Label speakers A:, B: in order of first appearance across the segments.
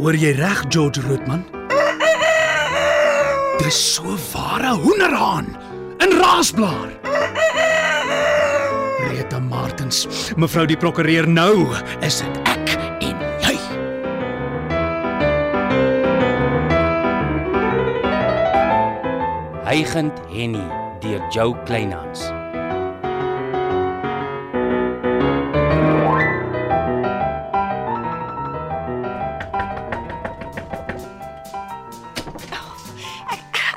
A: Hoor jy reg, George Roodman? Dis so ware hoenderhaan in raasblaar. Rita Martens, mevrou die prokureur nou, is dit ek en jy.
B: Hygend Henny deur Joe Kleinhans.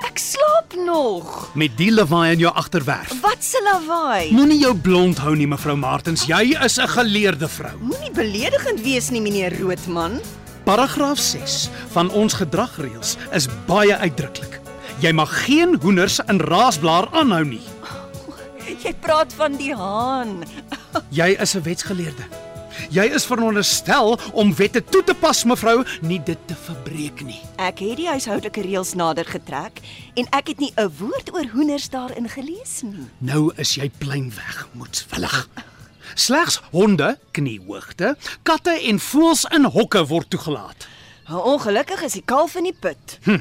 C: Ek slaap nog.
A: Met die lawaai in jou agterwerf.
C: Wat se lawaai?
A: Moenie jou blond hou nie, mevrou Martens. Jy is 'n geleerde vrou.
C: Moenie beledigend wees nie, meneer Roodman.
A: Paragraaf 6 van ons gedragreëls is baie uitdruklik. Jy mag geen hoenders in raasblaar aanhou nie.
C: Jy praat van die haan.
A: Jy is 'n wetsgeleerde. Jy is veronderstel om wette toe te pas, mevrou, nie dit te verbreek nie.
C: Ek het die huishoudelike reëls nader getrek en ek het nie 'n woord oor hoenders daarin gelees nie.
A: Nou is jy pleinweg moedswillig. Slegs honde, kniehoogte, katte en voëls in hokke word toegelaat.
C: Ongelukkig is die kalf in die put.
A: Hm,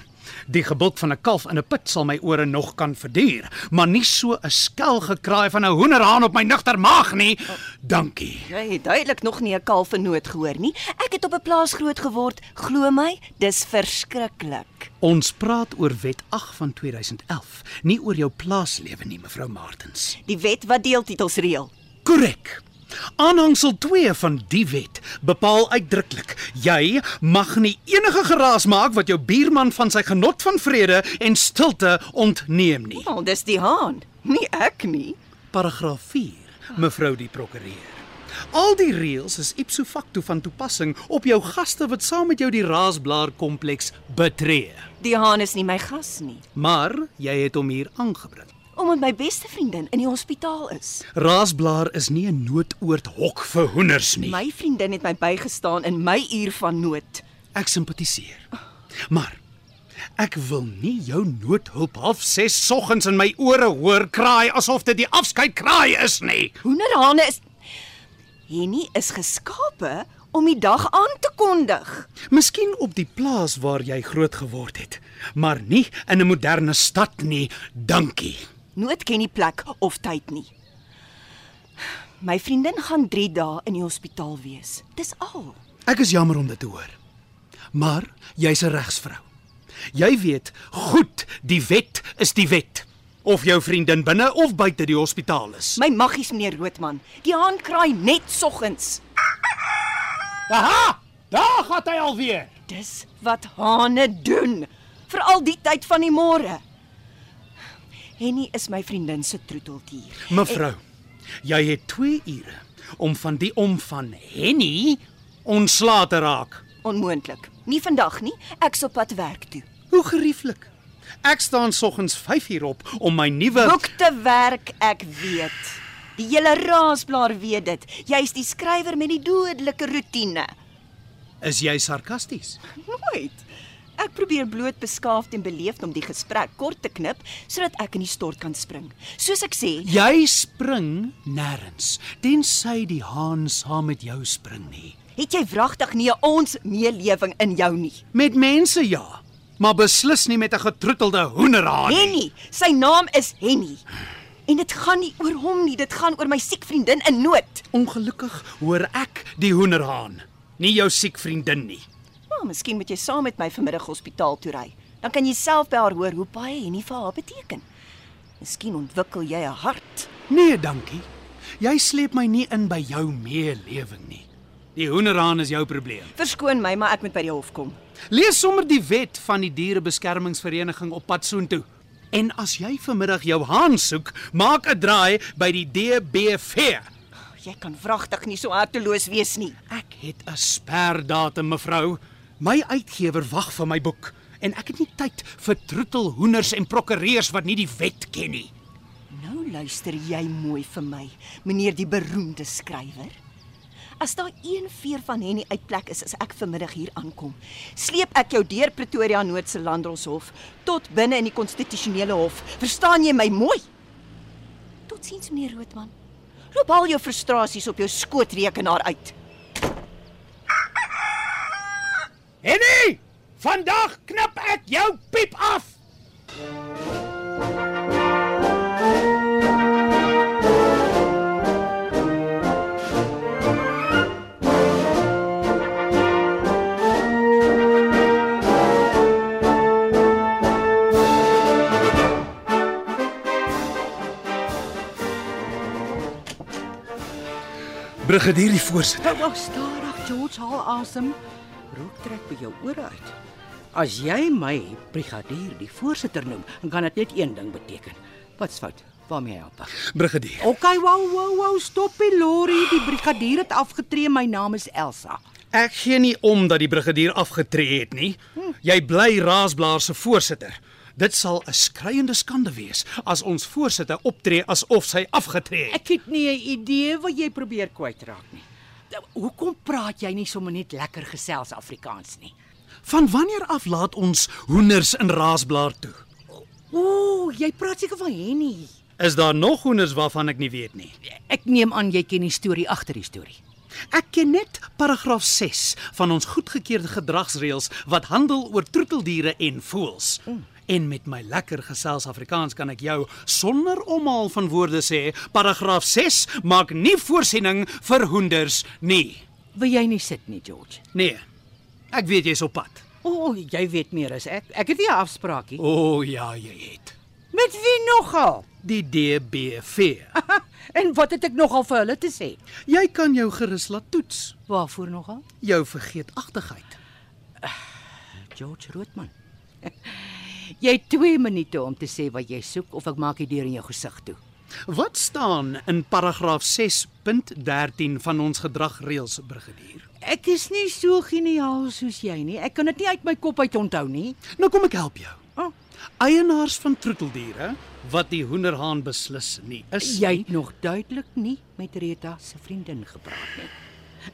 A: die gebulk van 'n kalf in 'n put sal my ore nog kan verduur, maar nie so 'n skel gekraai van 'n hoenderhaan op my nigter maag nie. Dankie.
C: Jy het duidelik nog nie 'n kalf in nood gehoor nie. Ek het op 'n plaas groot geword, glo my, dis verskriklik.
A: Ons praat oor Wet 8 van 2011, nie oor jou plaaslewe nie, mevrou Martens.
C: Die wet wat deeltitels reël.
A: Korrek. Aanhangsel 2 van die wet bepaal uitdruklik: jy mag nie enige geraas maak wat jou buurman van sy genot van vrede en stilte ontneem nie.
C: Wel, dis die haan, nie ek nie.
A: Paragraaf 4, mevrou die prokureur. Al die reëls is ipso facto van toepassing op jou gaste wat saam met jou die Raasblaar kompleks betree.
C: Die haan is nie my gas nie,
A: Maar jy het hom hier aangebring.
C: omdat my beste vriendin in die hospitaal is.
A: Raasblaar is nie 'n noodoord hok vir hoenders nie.
C: My vriendin het my bygestaan in my uur van nood.
A: Ek simpatiseer. Maar ek wil nie jou noodhulp half 6 soggens in my ore hoor kraai asof dit die afskeidkraai is nie.
C: Hoenderhane is Henny is geskape om die dag aan te kondig.
A: Miskien op die plaas waar jy groot geword het, maar nie in 'n moderne stad nie, dankie.
C: Nood ken nie plek of tyd nie. My vriendin gaan 3 dae in die hospitaal wees. Dis al.
A: Ek is jammer om dit te hoor. Maar jy's 'n regsvrou. Jy weet, goed, die wet is die wet. Of jou vriendin binne of buite die hospitaal is.
C: My maggies meneer Roodman, die haan kraai net soggens.
A: Aha! Daar gaan hy alweer.
C: Dis wat hane doen, veral die tyd van die môre. Henny is my vriendin se troeteldier.
A: Mevrou, jy het 2 ure om van die om van Henny ontslae te raak.
C: Onmoontlik. Nie vandag nie. Ek sop pad werk toe.
A: Hoe gerieflik. Ek staan soggens 5 uur op om my nuwe
C: Boek te werk, ek weet. Die hele raasblaar weet dit. Jy's die skrywer met die dodelike roetine.
A: Is jy sarkasties?
C: Nooit. Ek probeer bloot beskaafd en beleefd om die gesprek kort te knip sodat ek in die stort kan spring. Soos ek sê,
A: Jy spring nêrens tensy die haan saam met jou spring nie.
C: het jy wragtig nie 'n ons meelewing in jou nie.
A: Met mense ja, maar beslis nie met 'n getroetelde hoenderhaan nie.
C: Henny, sy naam is Henny. En dit gaan nie oor hom nie, dit gaan oor my siek vriendin in nood.
A: Ongelukkig hoor ek die hoenderhaan, nie jou siek vriendin nie.
C: Maar miskien moet jy saam met my vanmiddag hospitaal toe ry. Dan kan jy self by haar hoor hoe baie Henny vir haar beteken. Miskien ontwikkel jy 'n hart.
A: Nee, dankie. Jy sleep my nie in by jou meelewing nie. Die hoenderhaan is jou probleem.
C: Verskoon my, maar ek moet by die hof kom.
A: Lees sommer die wet van die dierebeskermingsvereniging op pad soontoe. En as jy vanmiddag jou haan soek, maak 'n draai by die DBV.
D: Jy kan wragtig nie so harteloos wees nie.
A: Ek het 'n sperdatum, mevrou. My uitgewer wag vir my boek en ek het nie tyd vir troetelhoenders en prokureurs wat nie die wet ken nie.
D: Nou luister jy mooi vir my, meneer die beroemde skrywer. As daar een veer van Henny uitplek is as ek vanmiddag hier aankom, sleep ek jou deur Pretoria Noord se Landdroshof tot binne in die konstitusionele hof. Verstaan jy my mooi? Totsiens meneer Roodman. Loop al jou frustrasies op jou skootrekenaar uit.
E: Henny, vandag knip ek jou piep af.
A: Brigadier die voorsitter.
C: Wou stadig George haal asem. Rook trek by jou ore uit. As jy my brigadier die voorsitter noem, dan kan dit net een ding beteken. Wat's fout? Waarmee help ek?
A: Brigadier.
C: OK, wow, wow, wow, stop die lorry. Die brigadier het afgetree. My naam is Elsa.
A: Ek gee nie om dat die brigadier afgetree het nie. Jy bly Raasblaar se voorsitter. Dit sal 'n skreiende skande wees as ons voorsitter optree asof sy afgetree het.
C: Ek het nie 'n idee wat jy probeer kwytraak nie. Nou, Hoekom praat jy nie sommer net lekker gesels Afrikaans nie?
A: Van wanneer af laat ons hoenders in Raasblaar toe?
C: Ooh, jy praat seker van Henny.
A: Is daar nog hoenders waarvan ek nie weet nie?
C: Ek neem aan jy ken die storie agter die storie.
A: Ek ken net paragraaf 6 van ons goedgekeurde gedragsreëls wat handel oor troeteldiere en voëls. En met my lekker gesels Afrikaans kan ek jou sonder omhaal van woorde sê, paragraaf 6 maak nie voorsiening vir hoenders nie.
C: Wil jy nie sit nie, George?
A: Nee. Ek weet jy's op pad.
C: O, oh, jy weet meer as ek. Ek het nie 'n afspraakie.
A: O oh, ja, jy het.
C: Met wie nogal?
A: Die DBV.
C: En wat het ek nogal vir hulle te sê?
A: Jy kan jou gerus laat toets,
C: Waarvoor nogal?
A: jou vergeetagtigheid.
C: George Roodman. jy het 2 minute om te sê wat jy soek of ek maak die deur in jou gesig toe.
A: Wat staan in paragraaf 6.13 van ons gedragreëls, brigadier?
C: Ek is nie so geniaal soos jy nie. Ek kan dit nie uit my kop uit onthou nie.
A: Nou kom ek help jou.
C: Oh.
A: Eienaars van troeteldiere wat die hoenderhaan beslis nie is.
C: Jy het nog duidelik nie met Rita se vriendin gepraat nie.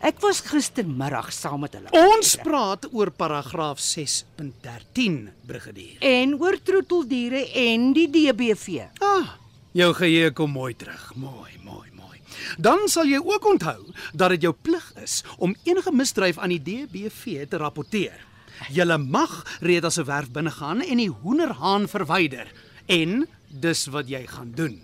C: Ek was gistermiddag saam met hulle.
A: Ons praat oor paragraaf 6.13, brigadier.
C: en oor troeteldiere en die DBV.
A: Ah, jou geheue kom mooi terug. Mooi, mooi, mooi. Dan sal jy ook onthou dat dit jou plig is om enige misdryf aan die DBV te rapporteer. Jy mag Reda se werf binnegaan en die hoenderhaan verwyder en dis wat jy gaan doen.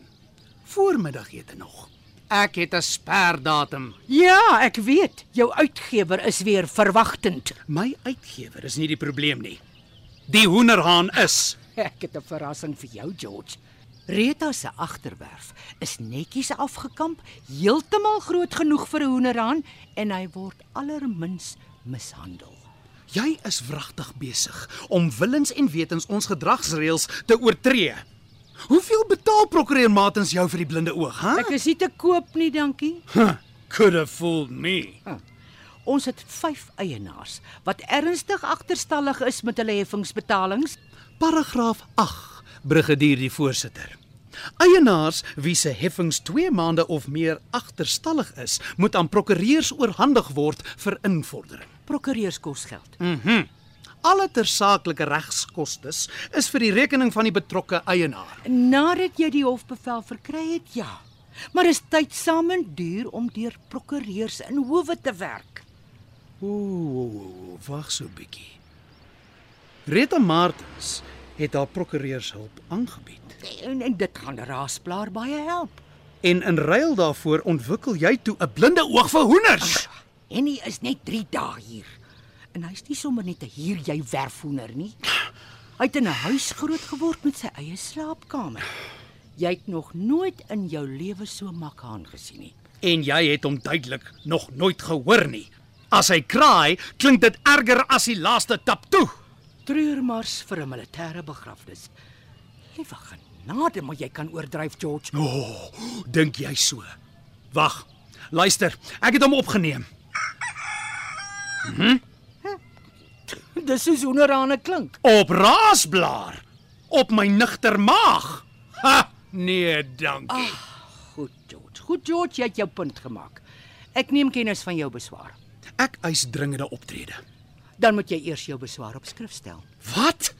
A: Voormiddagete nog. Ek het 'n sperdatum.
C: Ja, ek weet, jou uitgewer is weer verwagtend.
A: My uitgewer is nie die probleem nie. Die hoenderhaan is.
C: Ek het 'n verrassing vir jou, George. Rita se agterwerf is netjies afgekamp, heeltemal groot genoeg vir 'n hoenderhaan en hy word allermins mishandel.
A: Jy is wragtig besig om willens en wetens ons gedragsreëls te oortree. Hoeveel betaal prokureur Matens jou vir die blinde oog, hè?
C: Ek is nie te koop nie, dankie.
A: Huh, could have fooled me.
C: Ons het 5 eienaars wat ernstig agterstallig is met hulle heffingsbetalings.
A: Paragraaf 8, brigadier die voorsitter. Eienaars wie se heffings 2 maande of meer agterstallig is, moet aan prokureurs oorhandig word vir invordering.
C: Prokureurs kos geld.
A: Alle tersaaklike regskoste is vir die rekening van die betrokke eienaar.
C: Nadat jy die hofbevel verkry het, ja. Maar is tyd samend duur om deur prokureurs in howe te werk.
A: Ooh, ooh, ooh, ooh, wag so 'n bietjie. Rita Martens het haar prokureurshulp aangebied
C: En, en dit gaan raasplaar baie help.
A: en in ruil daarvoor ontwikkel jy toe 'n blinde oog vir hoenders.
C: En hy is net 3 dae hier. En hy's nie sommer net 'n hier jy werfhoender nie. Hy het in 'n huis groot geword met sy eie slaapkamer. Jy het nog nooit in jou lewe so mak haan gesien nie.
A: En jy het hom duidelik nog nooit gehoor nie. As hy kraai, klink dit erger as die laaste tap toe.
C: Treurmars vir 'n militêre begrafnis. Liewe genade, maar jy kan oordryf, George.
A: O, oh, dink jy so? Wag. Luister, ek het hom opgeneem.
C: Dis soos hoenderhane klink.
A: Op raasblaar. Op my nigter maag. Ha, nee, dankie. Ah.
C: Goed, George. Goed, George, jy het jou punt gemaak. Ek neem kennis van jou beswaar.
A: Ek eis dringende optrede.
C: Dan moet jy eers jou beswaar op skrift stel.
A: Wat?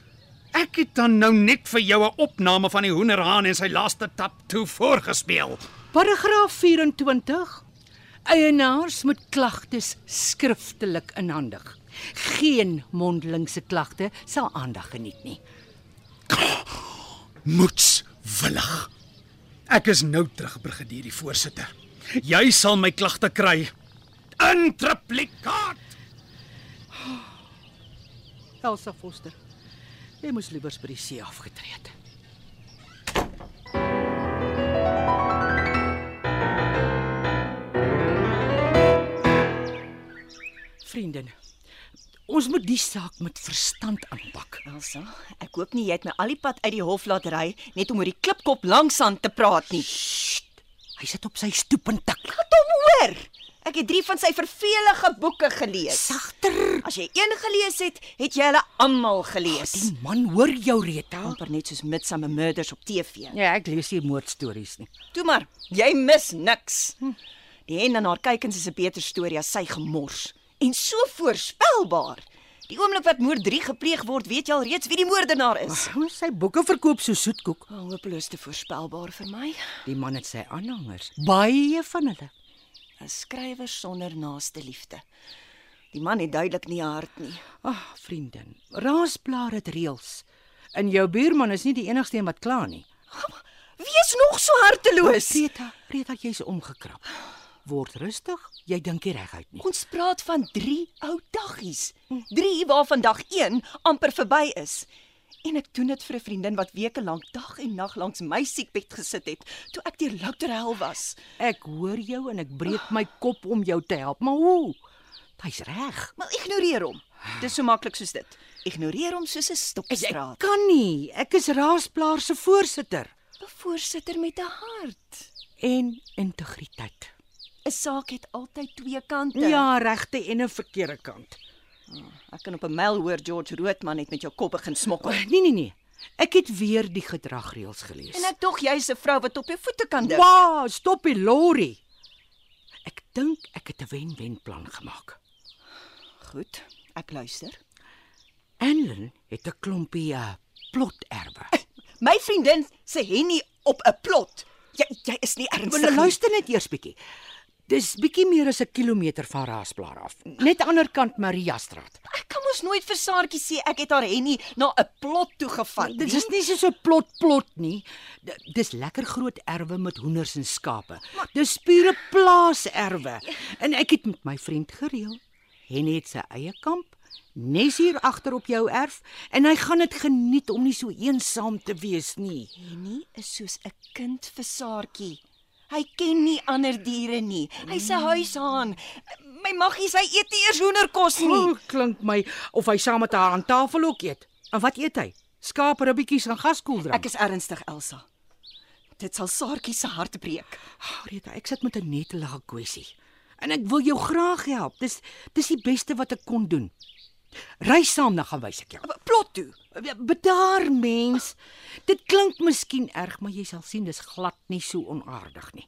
A: Ek het dan nou net vir jou 'n opname van die hoenderhaan en sy laaste tap toe voorgespeel.
C: Paragraaf 24. Eienaars moet klagtes skriftelik inhandig. Geen mondelingse klagte sal aandag geniet nie.
A: Moedswillig. Ek is nou terug brigadier die voorsitter. Jy sal my klagte kry. In triplikaat.
C: Elsa Foster. Jy moes liewers by die see afgetree het. Vriendin, ons moet die saak met verstand aanpak.
D: Elsa, ek hoop nie jy het my al die pad uit die hof laat ry net om oor die klipkop langsaan te praat nie.
C: Hy sit op sy stoep en tik.
D: Laat hom hoor. Ek het 3 van sy vervelige boeke gelees.
C: Sagter.
D: As jy een gelees het, het jy hulle almal gelees.
C: Die man hoor jou, Rita.
D: amper net soos Midsummer Murders op TV.
C: Ja, ek lees nie moordstories nie.
D: Toe maar, jy mis niks. Die hen en haar kykens is 'n beter storie as sy gemors en so voorspelbaar. Die oomblik wat moord 3 gepleeg word, weet jy al reeds wie die moordenaar is.
C: Hoe sy boeke verkoop so soetkoek.
D: Oh, hopeloos te voorspelbaar vir my.
C: Die man het sy aanhangers, baie van hulle.
D: 'n Skrywer sonder naaste liefde. Die man het duidelik nie 'n hart nie.
C: Ag, vriendin, raasblaar het reëls. En jou buurman is nie die enigste een wat kla nie.
D: Wees nog so harteloos.
C: Rita, Rita, jy's omgekrap. Word rustig, jy dink nie reguit nie.
D: Ons praat van 3 ou daggies. 3 waarvan dag 1 amper verby is. En ek doen dit vir 'n vriendin wat weke lank dag en nag langs my siekbed gesit het toe ek deur louter hel was.
C: Ek hoor jou en ek breek my kop om jou te help, maar hoe? Hy's reg.
D: Maar ignoreer hom. Dis so maklik soos dit. Ignoreer hom soos 'n stopstraat.
C: kan nie. Ek is raasblaar se voorsitter
D: 'n Voorsitter met 'n hart.
C: en integriteit.
D: 'n Saak het altyd twee kante.
C: Ja, regte en 'n verkeerde kant.
D: Ek kan op 'n myl hoor George Roodman het met jou kop begin smokkel.
C: Nee, nee, nee. Ek het weer die gedragreëls gelees.
D: En ek dog jy's 'n vrou wat op jou voete kan dink.
C: Wa, stop die lorry. Ek dink ek het 'n wen-wen plan gemaak.
D: Goed, ek luister.
C: Anlyn het 'n klompie uh, ploterwe.
D: My vriendin se Henny op 'n plot. Jy jy is nie ernstig.
C: Maar
D: nie.
C: luister net eers bietjie. Dis bietjie meer as 'n kilometer van Raasblaar af, net aan die ander kant Mariastraat.
D: Ek kan mos nooit vir Saartjie sê ek het haar Henny na 'n plot toe gevat nie.
C: Dit is nie soos 'n plot plot nie. D- Dis lekker groot erwe met hoenders en skape. Dis pure plaaserwe. En ek het met my vriend gereël. Henny het sy eie kamp, nes hier agter op jou erf en hy gaan dit geniet om nie so eensaam te wees nie.
D: Henny is soos 'n kind vir Saartjie. Hy ken nie ander diere nie. Hy's 'n huishaan. My maggie, sy eet nie eers hoenderkos nie.
C: O, Oh, klink my of hy saam met haar aan tafel ook eet. En wat eet hy? Skape ribbetjies en gaskoeldrank.
D: Ek is ernstig, Elsa. Dit sal Saartjie se hart breek.
C: Oh, Rita, ek sit met 'n netelige kwessie. En ek wil jou graag help. Dis dis die beste wat ek kon doen. Ry saam dan gaan wys ek jou.
D: Plot toe.
C: Bedaar mens. Dit klink miskien erg, maar jy sal sien dis glad nie so onaardig nie.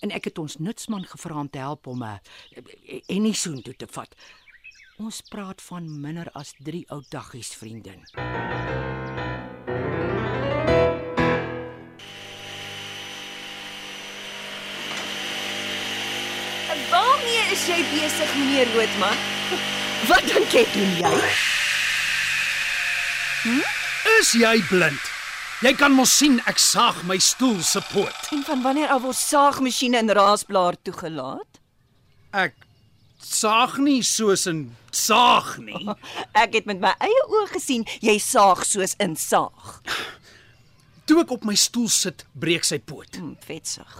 C: En ek het ons nutsman gevra om te help om 'n en nie soen toe te vat. Ons praat van minder as 3 ou daggies, vriendin.
D: Waarmee is jy besig, meneer Roodman? Wat dink jy doen jy?
A: Is jy blind? Jy kan mos sien ek saag my stoel se poot.
D: En van wanneer af word saagmasjiene in Raasblaar toegelaat?
A: Ek saag nie soos 'n saag nie.
D: Ek het met my eie oë gesien jy saag soos in saag.
A: Toe ek op my stoel sit, breek sy poot.
D: Hm, vetsig.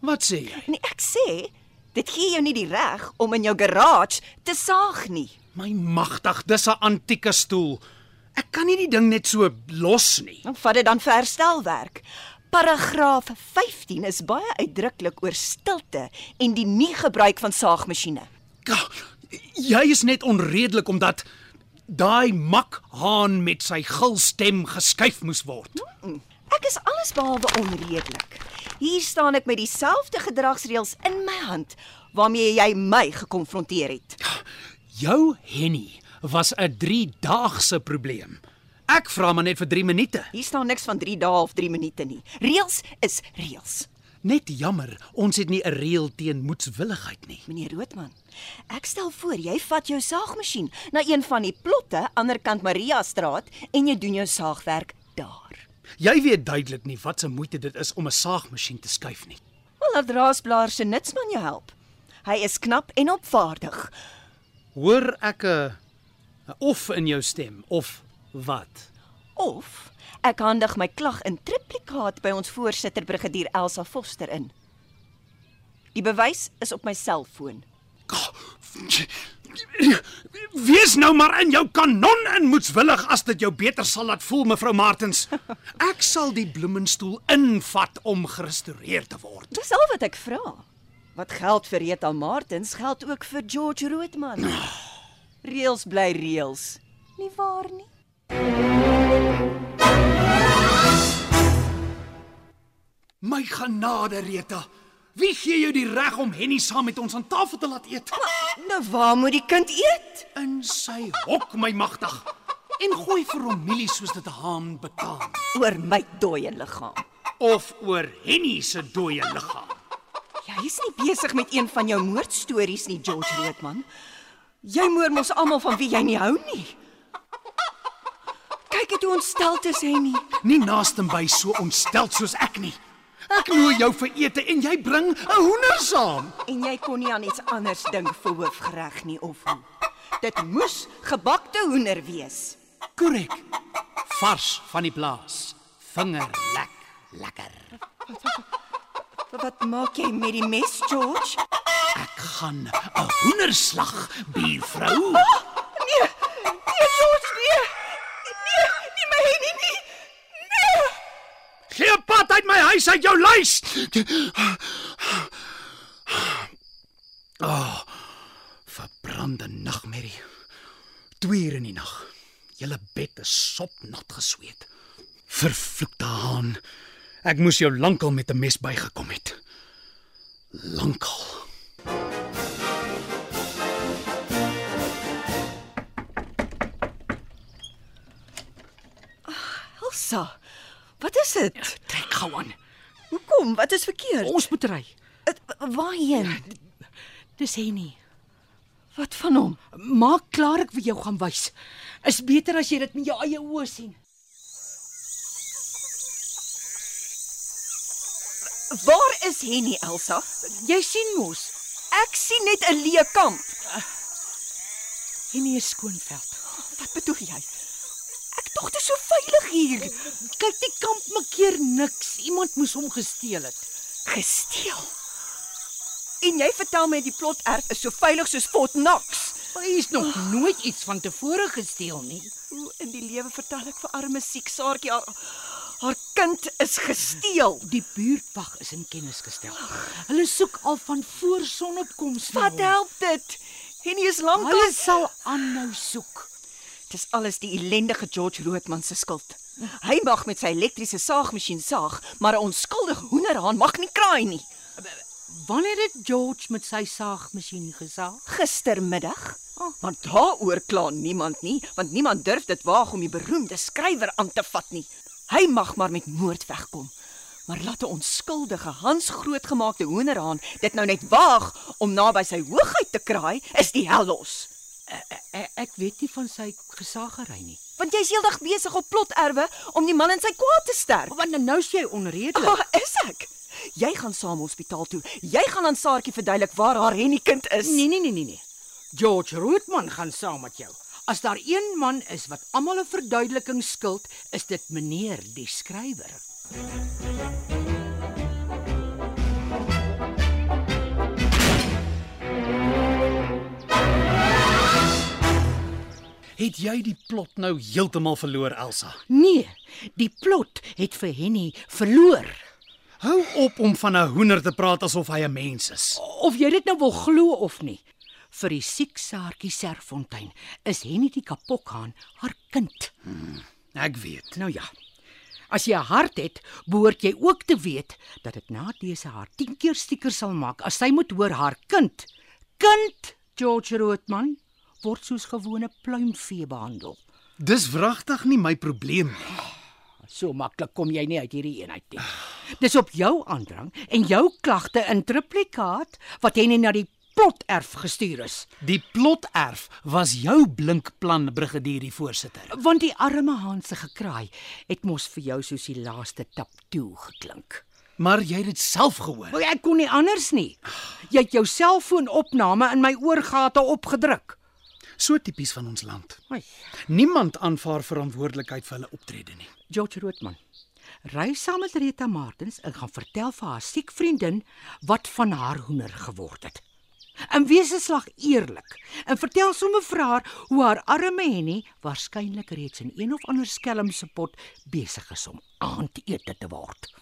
A: Wat sê jy?
D: Nee, ek sê, dit gee jou nie die reg om in jou garage te saag nie.
A: My magtig, dis 'n antieke stoel. Ek kan nie die ding net so los nie.
D: Nou vat dit dan vir herstelwerk. Paragraaf 15 is baie uitdruklik oor stilte en die nie gebruik van saagmasjiene.
A: Ja, jy is net onredelik omdat daai makhaan met sy gil stem geskuif moes word.
D: Mm. Ek is alles behalwe onredelik. Hier staan ek met dieselfde gedragsreëls in my hand waarmee jy my gekonfronteer het.
A: Jou Henny was 'n 3-daagse probleem. Ek vra maar net vir 3 minute.
D: Hier staan niks van 3 dae of 3 minute nie. Reëls is reëls.
A: Net jammer, ons het nie 'n reël teen moetswilligheid nie.
D: Meneer Roodman, ek stel voor jy vat jou saagmasjien na een van die plotte aanderkant Maria straat en jy doen jou saagwerk daar.
A: Jy weet duidelik nie wat se moeite dit is om 'n saagmasjien te skuif nie.
D: Wel, laat Raasblaar se nutsman jou help. Hy is knap en opvaardig.
A: Hoor ek 'n 'n of in jou stem of wat?
D: Of ek handig my klag in triplikaat by ons voorsitter brigadier Elsa Foster in. Die bewys is op my selfoon.
A: Wees nou maar in jou kanon in moetswillig as dit jou beter sal laat voel mevrou Martens. Ek sal die bloemenstoel invat om gerestoreer te word.
D: Dis al wat ek vra. Wat geld vir Rita Martens geld ook vir George Roodman. Reels bly reels. Nie waar nie?
A: My genade Rita, wie gee jou die reg om Henny saam met ons aan tafel te laat eet?
D: Nou waar moet die kind eet?
A: In sy hok, my magtig. En gooi vir hom mielies soos dit 'n haan betaam
D: Oor my dooie liggaam.
A: of oor Henny se dooie liggaam.
D: Jy is nie besig met een van jou moordstories nie, George Roodman. Jy moer mos almal van wie jy nie hou nie. Kyk hoe ontstel dit is, Henny.
A: Nie naaste by so ontsteld soos ek nie. Ek nooi jou vir ete en jy bring 'n hoender saam.
D: En jy kon nie aan iets anders dink vir hoofgereg nie of hoe. Dit moes gebakte hoender wees.
A: Korrek. Vars van die plaas. Vinger lek, lekker.
D: Wat maak jy met die mes, George?
A: Ek gaan 'n hoenderslag, buurvrou.
D: Nee, nee George, nee. Nee, nie my Henny nie. Nee.
A: Gee 'n pad uit my huis uit jou lys. Ah, oh, verbrande nagmerrie. 2 uur in die nag. Julle bed is sopnat gesweet. Vervloekte haan. Ek moes jou lankal met 'n mes bygekom het. Lankal.
D: Elsa, wat is dit?
C: Trek gou aan.
D: Hoekom? Wat is verkeerd?
C: Ons moet ry.
D: Het- Waarheen?
C: Dis Henny.
D: Wat van hom?
C: Maak klaar ek vir jou gaan wys. Is beter as jy dit met jou eie oë sien.
D: Waar is Henny, Elsa?
C: Jy sien mos,
D: Ek sien net 'n leeu kamp.
C: Henny is skoonveld.
D: Wat bedoel jy? Ek dink dit is so veilig hier.
C: Kyk, die kamp maak keer niks. Iemand moes hom gesteel het.
D: Gesteel. En jy vertel my die plot erf is so veilig soos Fort Knox.
C: Hy is nog nooit iets van tevore gesteel nie.
D: Hoe in die lewe vertel ek vir arme siek Saartjie haar, haar kind is gesteel.
C: Die buurtwag is in kennis gestel. Hulle soek al van voor sonopkoms na
D: Wat
C: hom.
D: help dit? Henny is lank
C: Hulle
D: al.
C: Ja. sal aanhou soek.
D: Dis alles die ellendige George Roodman se skuld. Hy mag met sy elektriese saagmasjien saag, maar 'n onskuldige hoenderhaan mag nie kraai nie.
C: Wanneer het George met sy saagmasjien gesaag?
D: Gistermiddag, want Oh. daaroor kla niemand nie, want niemand durf dit waag om die beroemde skrywer aan te vat nie. Hy mag maar met moord wegkom. Maar laat 'n onskuldige, Hans grootgemaakte hoenderhaan dit nou net waag om naby sy hoogheid te kraai, is die hel los.
C: Ek, Eh, ek weet nie van sy gesaagery nie.
D: Want jy's heeldag besig op ploterwe om die man in sy kwaad te sterk.
C: Want nou- nou sê jy onredelik.
D: Waar is ek? Jy gaan saam hospitaal toe. Jy gaan aan Saartjie verduidelik waar haar Henny kind is.
C: Nee nee nee nee nee. George Roodman gaan saam met jou. As daar een man is wat almal 'n verduideliking skuld, is dit meneer die skrywer.
A: Het jy die plot nou heeltemal verloor, Elsa?
D: Nee, die plot het vir Henny verloor.
A: Hou op om van 'n hoender te praat asof hy 'n mens is.
D: Of jy dit nou wil glo of nie. Vir die siek saartjie Serfontein is Henny die kapokhaan haar kind.
A: Ek weet.
D: Nou ja. As jy 'n hart het, behoort jy ook te weet dat dit na dese haar 10 keer stieker sal maak as sy moet hoor haar kind. Kind George Roodman word soos gewone pluimvee behandel.
A: Dis wragtig nie my probleem nie.
D: So maklik kom jy nie uit hierdie eenheid nie. Dis op jou aandrang en jou klagte in triplikaat wat jy net na die plot erf gestuur is,
A: Die ploterf was jou blink plan, brigadier die voorsitter.
D: want die arme Haan se gekraai het mos vir jou soos die laaste tap toe geklink.
A: Maar jy het dit self gehoor.
D: Maar ek kon nie anders nie. Jy het jou selfoonopname in my oorgate opgedruk.
A: So tipies van ons land.
D: Ai,
A: Niemand aanvaar verantwoordelikheid vir hulle optrede nie.
D: George Roodman. Ry saam met Rita Martens en gaan vertel vir haar siek vriendin wat van haar hoender geword het. En wees 'n slag eerlik en vertel sommer vir haar hoe haar arme Henny waarskynlik reeds in een of ander skelm se pot besig is om aandete te word.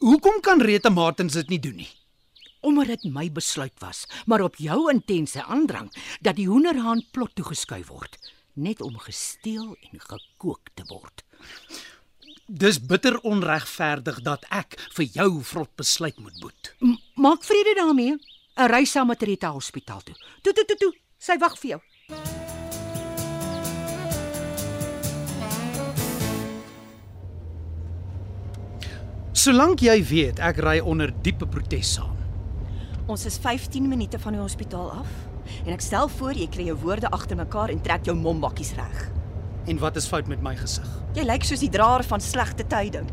A: Hoekom kan Rita Martens dit nie doen nie?
D: Omdat dit my besluit was, maar op jou intense aandrang dat die hoenderhaan plot toegeskuif word, net om gesteel en gekook te word.
A: Dis bitter onregverdig dat ek vir jou vrot besluit moet boet.
D: M maak vrede daarmee. 'n Ry saam met Rita hospitaal toe. Toe toe toe toe, sy wag vir jou.
A: Solank jy weet ek ry onder diepe protes saam.
F: Ons is 15 minute van die hospitaal af en ek stel voor jy kry jou woorde agter mekaar en trek jou mombakkies reg.
A: En wat is fout met my gesig?
F: Jy lyk soos die draer van slegte tyding,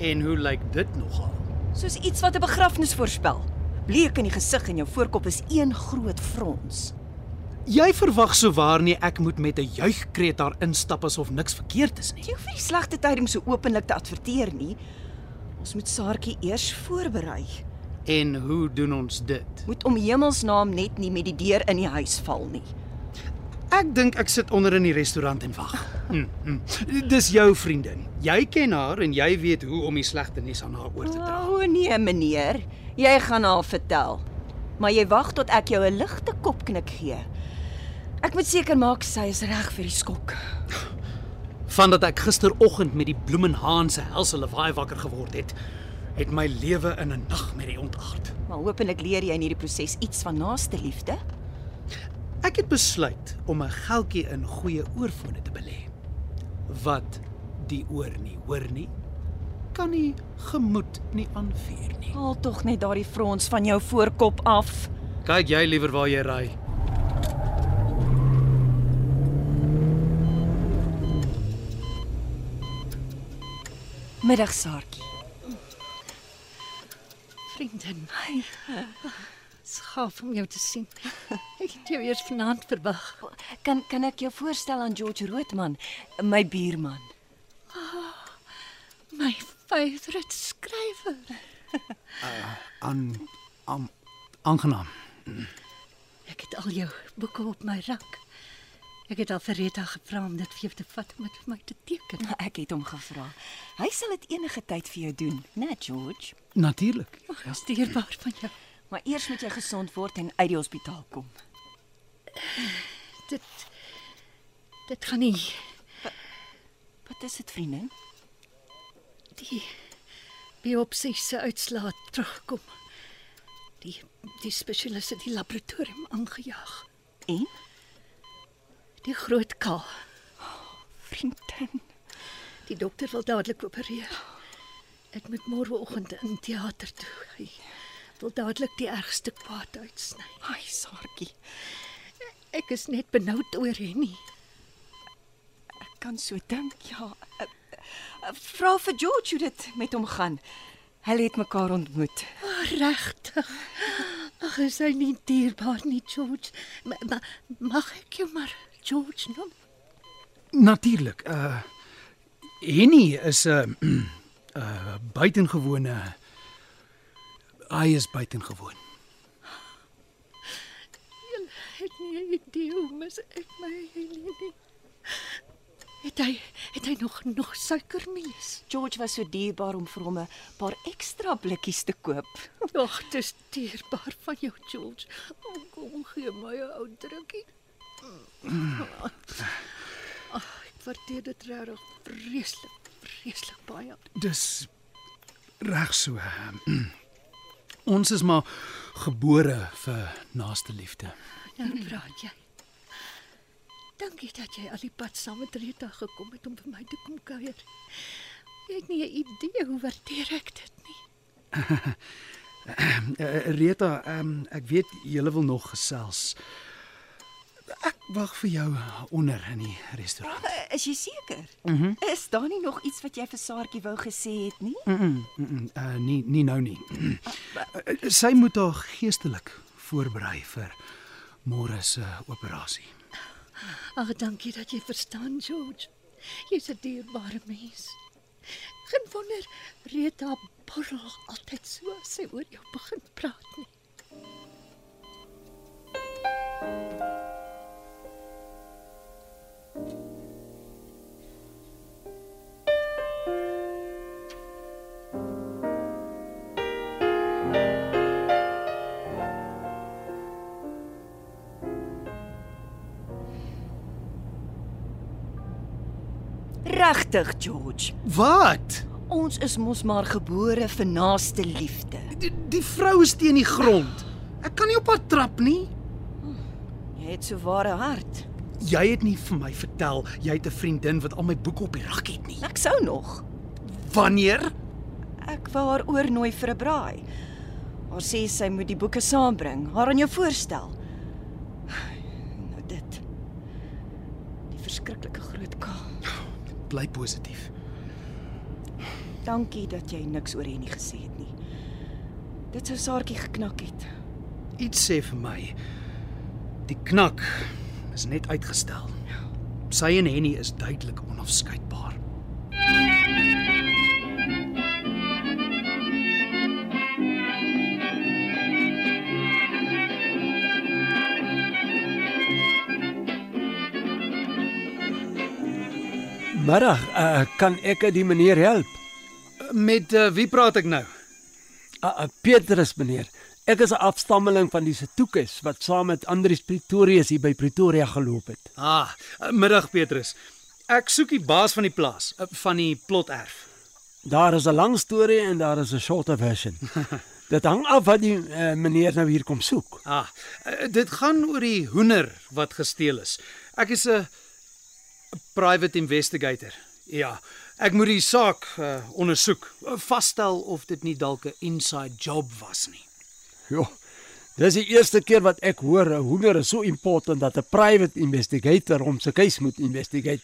A: En hoe lyk dit nogal?
F: soos iets wat 'n begrafnis voorspel. Bleek in die gesig en jou voorkop is een groot frons.
A: Jy verwag souwaar nie ek moet met 'n juigkreet daar instap asof niks verkeerd is nie.
F: Jy hoef nie die slegte tyding so openlik te adverteer nie. Ons moet Saartjie eers voorberei.
A: En hoe doen ons dit?
F: Moet om hemelsnaam net nie met die deur in die huis val nie.
A: Ek dink ek sit onder in die restaurant en wag. Mm, mm. Dis jou vriendin. Jy ken haar en jy weet hoe om die slegte nuus aan haar oor te dra.
F: O nee, meneer, jy gaan haar vertel. Maar jy wag tot ek jou 'n ligte kopknik gee. Ek moet seker maak sy is reg vir die skok.
A: Vandat ek gisteroggend met die Bloemenhaan se helse lawaai wakker geword het, het my lewe in 'n nagmerrie ontaard.
F: Maar hopelik leer jy in hierdie proses iets van naaste liefde.
A: Ek het besluit om 'n geldjie in goeie oorfone te belê. Wat die oor nie hoor nie, kan nie gemoed nie aanvuur nie.
F: Haal tog net daardie frons van jou voorkop af.
A: Kyk jy liewer waar jy ry.
F: Middag, Saartjie.
C: Vriendin, skaaf om jou te sien. Ek het jou eers vanaand verwag.
F: Kan kan ek jou voorstel aan George Roodman, my buurman?
C: Ah, My favourite skrywer.
A: Aan aan aangenaam.
C: Ek het al jou boeke op my rak. Ek het al vir Rita gevra om dit vir jou te vat om dit vir my te teken.
F: Ek het hom gevra. Hy sal dit enige tyd vir jou doen, né, George?
A: Natuurlik.
C: Ag, ja. dis dierbaar van jou.
F: Maar eers moet jy gesond word en uit die hospitaal kom.
C: Dit dit gaan nie
F: Wat is dit, vriendin?
C: die biopsie se uitslae terugkom. Die die spesialiste het die laboratorium aangejaag.
F: En
C: Die groot kaal.
F: Oh, vriendin.
C: Die dokter wil dadelik opereer. Ek moet môreoggend in teater toe. Hy wil dadelik die ergste kwaad uitsny.
F: Ai, Saartjie,
C: Ek is net benoud oor Henny.
F: ek kan so dink, ja. Eh, eh, Vra vir George hoe dit met hom gaan. Hulle het mekaar ontmoet.
C: Maar regtig. Ag, is hy nie dierbaar nie, George? Ma, ma, mag ek jou maar George noem?
A: Natuurlik. Uh Henny is 'n uh, uh buitengewone hy is buitengewoon.
C: Ek het nie
G: idee hoe mis ek my Helene. Het hy het hy nog nog suikermees?
D: George was so dierbaar om vir hom 'n paar ekstra blikkies te koop.
G: Ag, dis dierbaar van jou George. O, kom gee my 'n ou drukkie. Ag, Ah, ek waardeer dit regtig vreeslik, vreeslik baie.
A: Dis reg so. ehm, Ons is maar gebore vir naaste liefde.
G: Nou praat jy. Dankie dat jy al die pad saam met Rita gekom het om by my te kom kuier. Jy het nie 'n idee hoe waardeer ek dit nie.
A: Uh, Rita, um, ek weet julle wil nog gesels. Ek wag vir jou onder in die restaurant.
D: Uh, Is jy seker? Mm -hmm. Is daar nie nog iets wat jy vir Saartjie wou gesê het nie? Mm.
A: Uh nee, nie nou nie. Eh, Sy moet haar geestelik voorberei vir môre se operasie.
G: Ag, dankie dat jy verstaan, George. Jy's 'n dierbare mens. Geen wonder Rita borrel altyd so as sy oor jou begin praat nie.
D: Regtig, George.
A: Wat?
D: Ons is mos maar gebore vir naaste liefde.
A: Die, die vrou is teen die grond. Ek kan nie op haar trap nie.
D: Jy het so ware hart.
A: Jy het nie vir my vertel jy het 'n vriendin wat al my boeke op die rak het nie.
D: Ek sou nog.
A: Wanneer?
D: Ek wou haar oornooi vir 'n braai. Haar sê sy moet die boeke saambring, haar aan jou voorstel. Nou dit. Die verskriklike groot kaal.
A: Bly positief.
D: Dankie dat jy niks oor Henny gesê het nie. Dit sou Saartjie geknak het.
A: Iets sê vir my die knak is net uitgestel. Sy en Henny is duidelik onafskeidbaar.
H: Middag, uh, kan ek die meneer help?
A: Met uh, wie praat ek nou?
H: Uh, uh, Petrus meneer. Ek is 'n afstammeling van die Setukes wat saam met Andrius Pretorius hier by Pretoria geloop het.
A: Ah, middag Petrus. Ek soek die baas van die plaas, eh, van die ploterf.
H: Daar is 'n lang storie en daar is 'n shorter version. Dit hang af wat die uh, meneer nou hier kom soek.
A: Ah, eh, dit gaan oor die hoender wat gesteel is. Ek is 'n private investigator. Ja, ek moet die saak uh, ondersoek, eh, vasstel of dit nie dalk 'n inside job was nie.
H: Jo. Dis die eerste keer wat ek hoor 'n hoender is so important dat 'n private investigator hom se keuse moet investigate.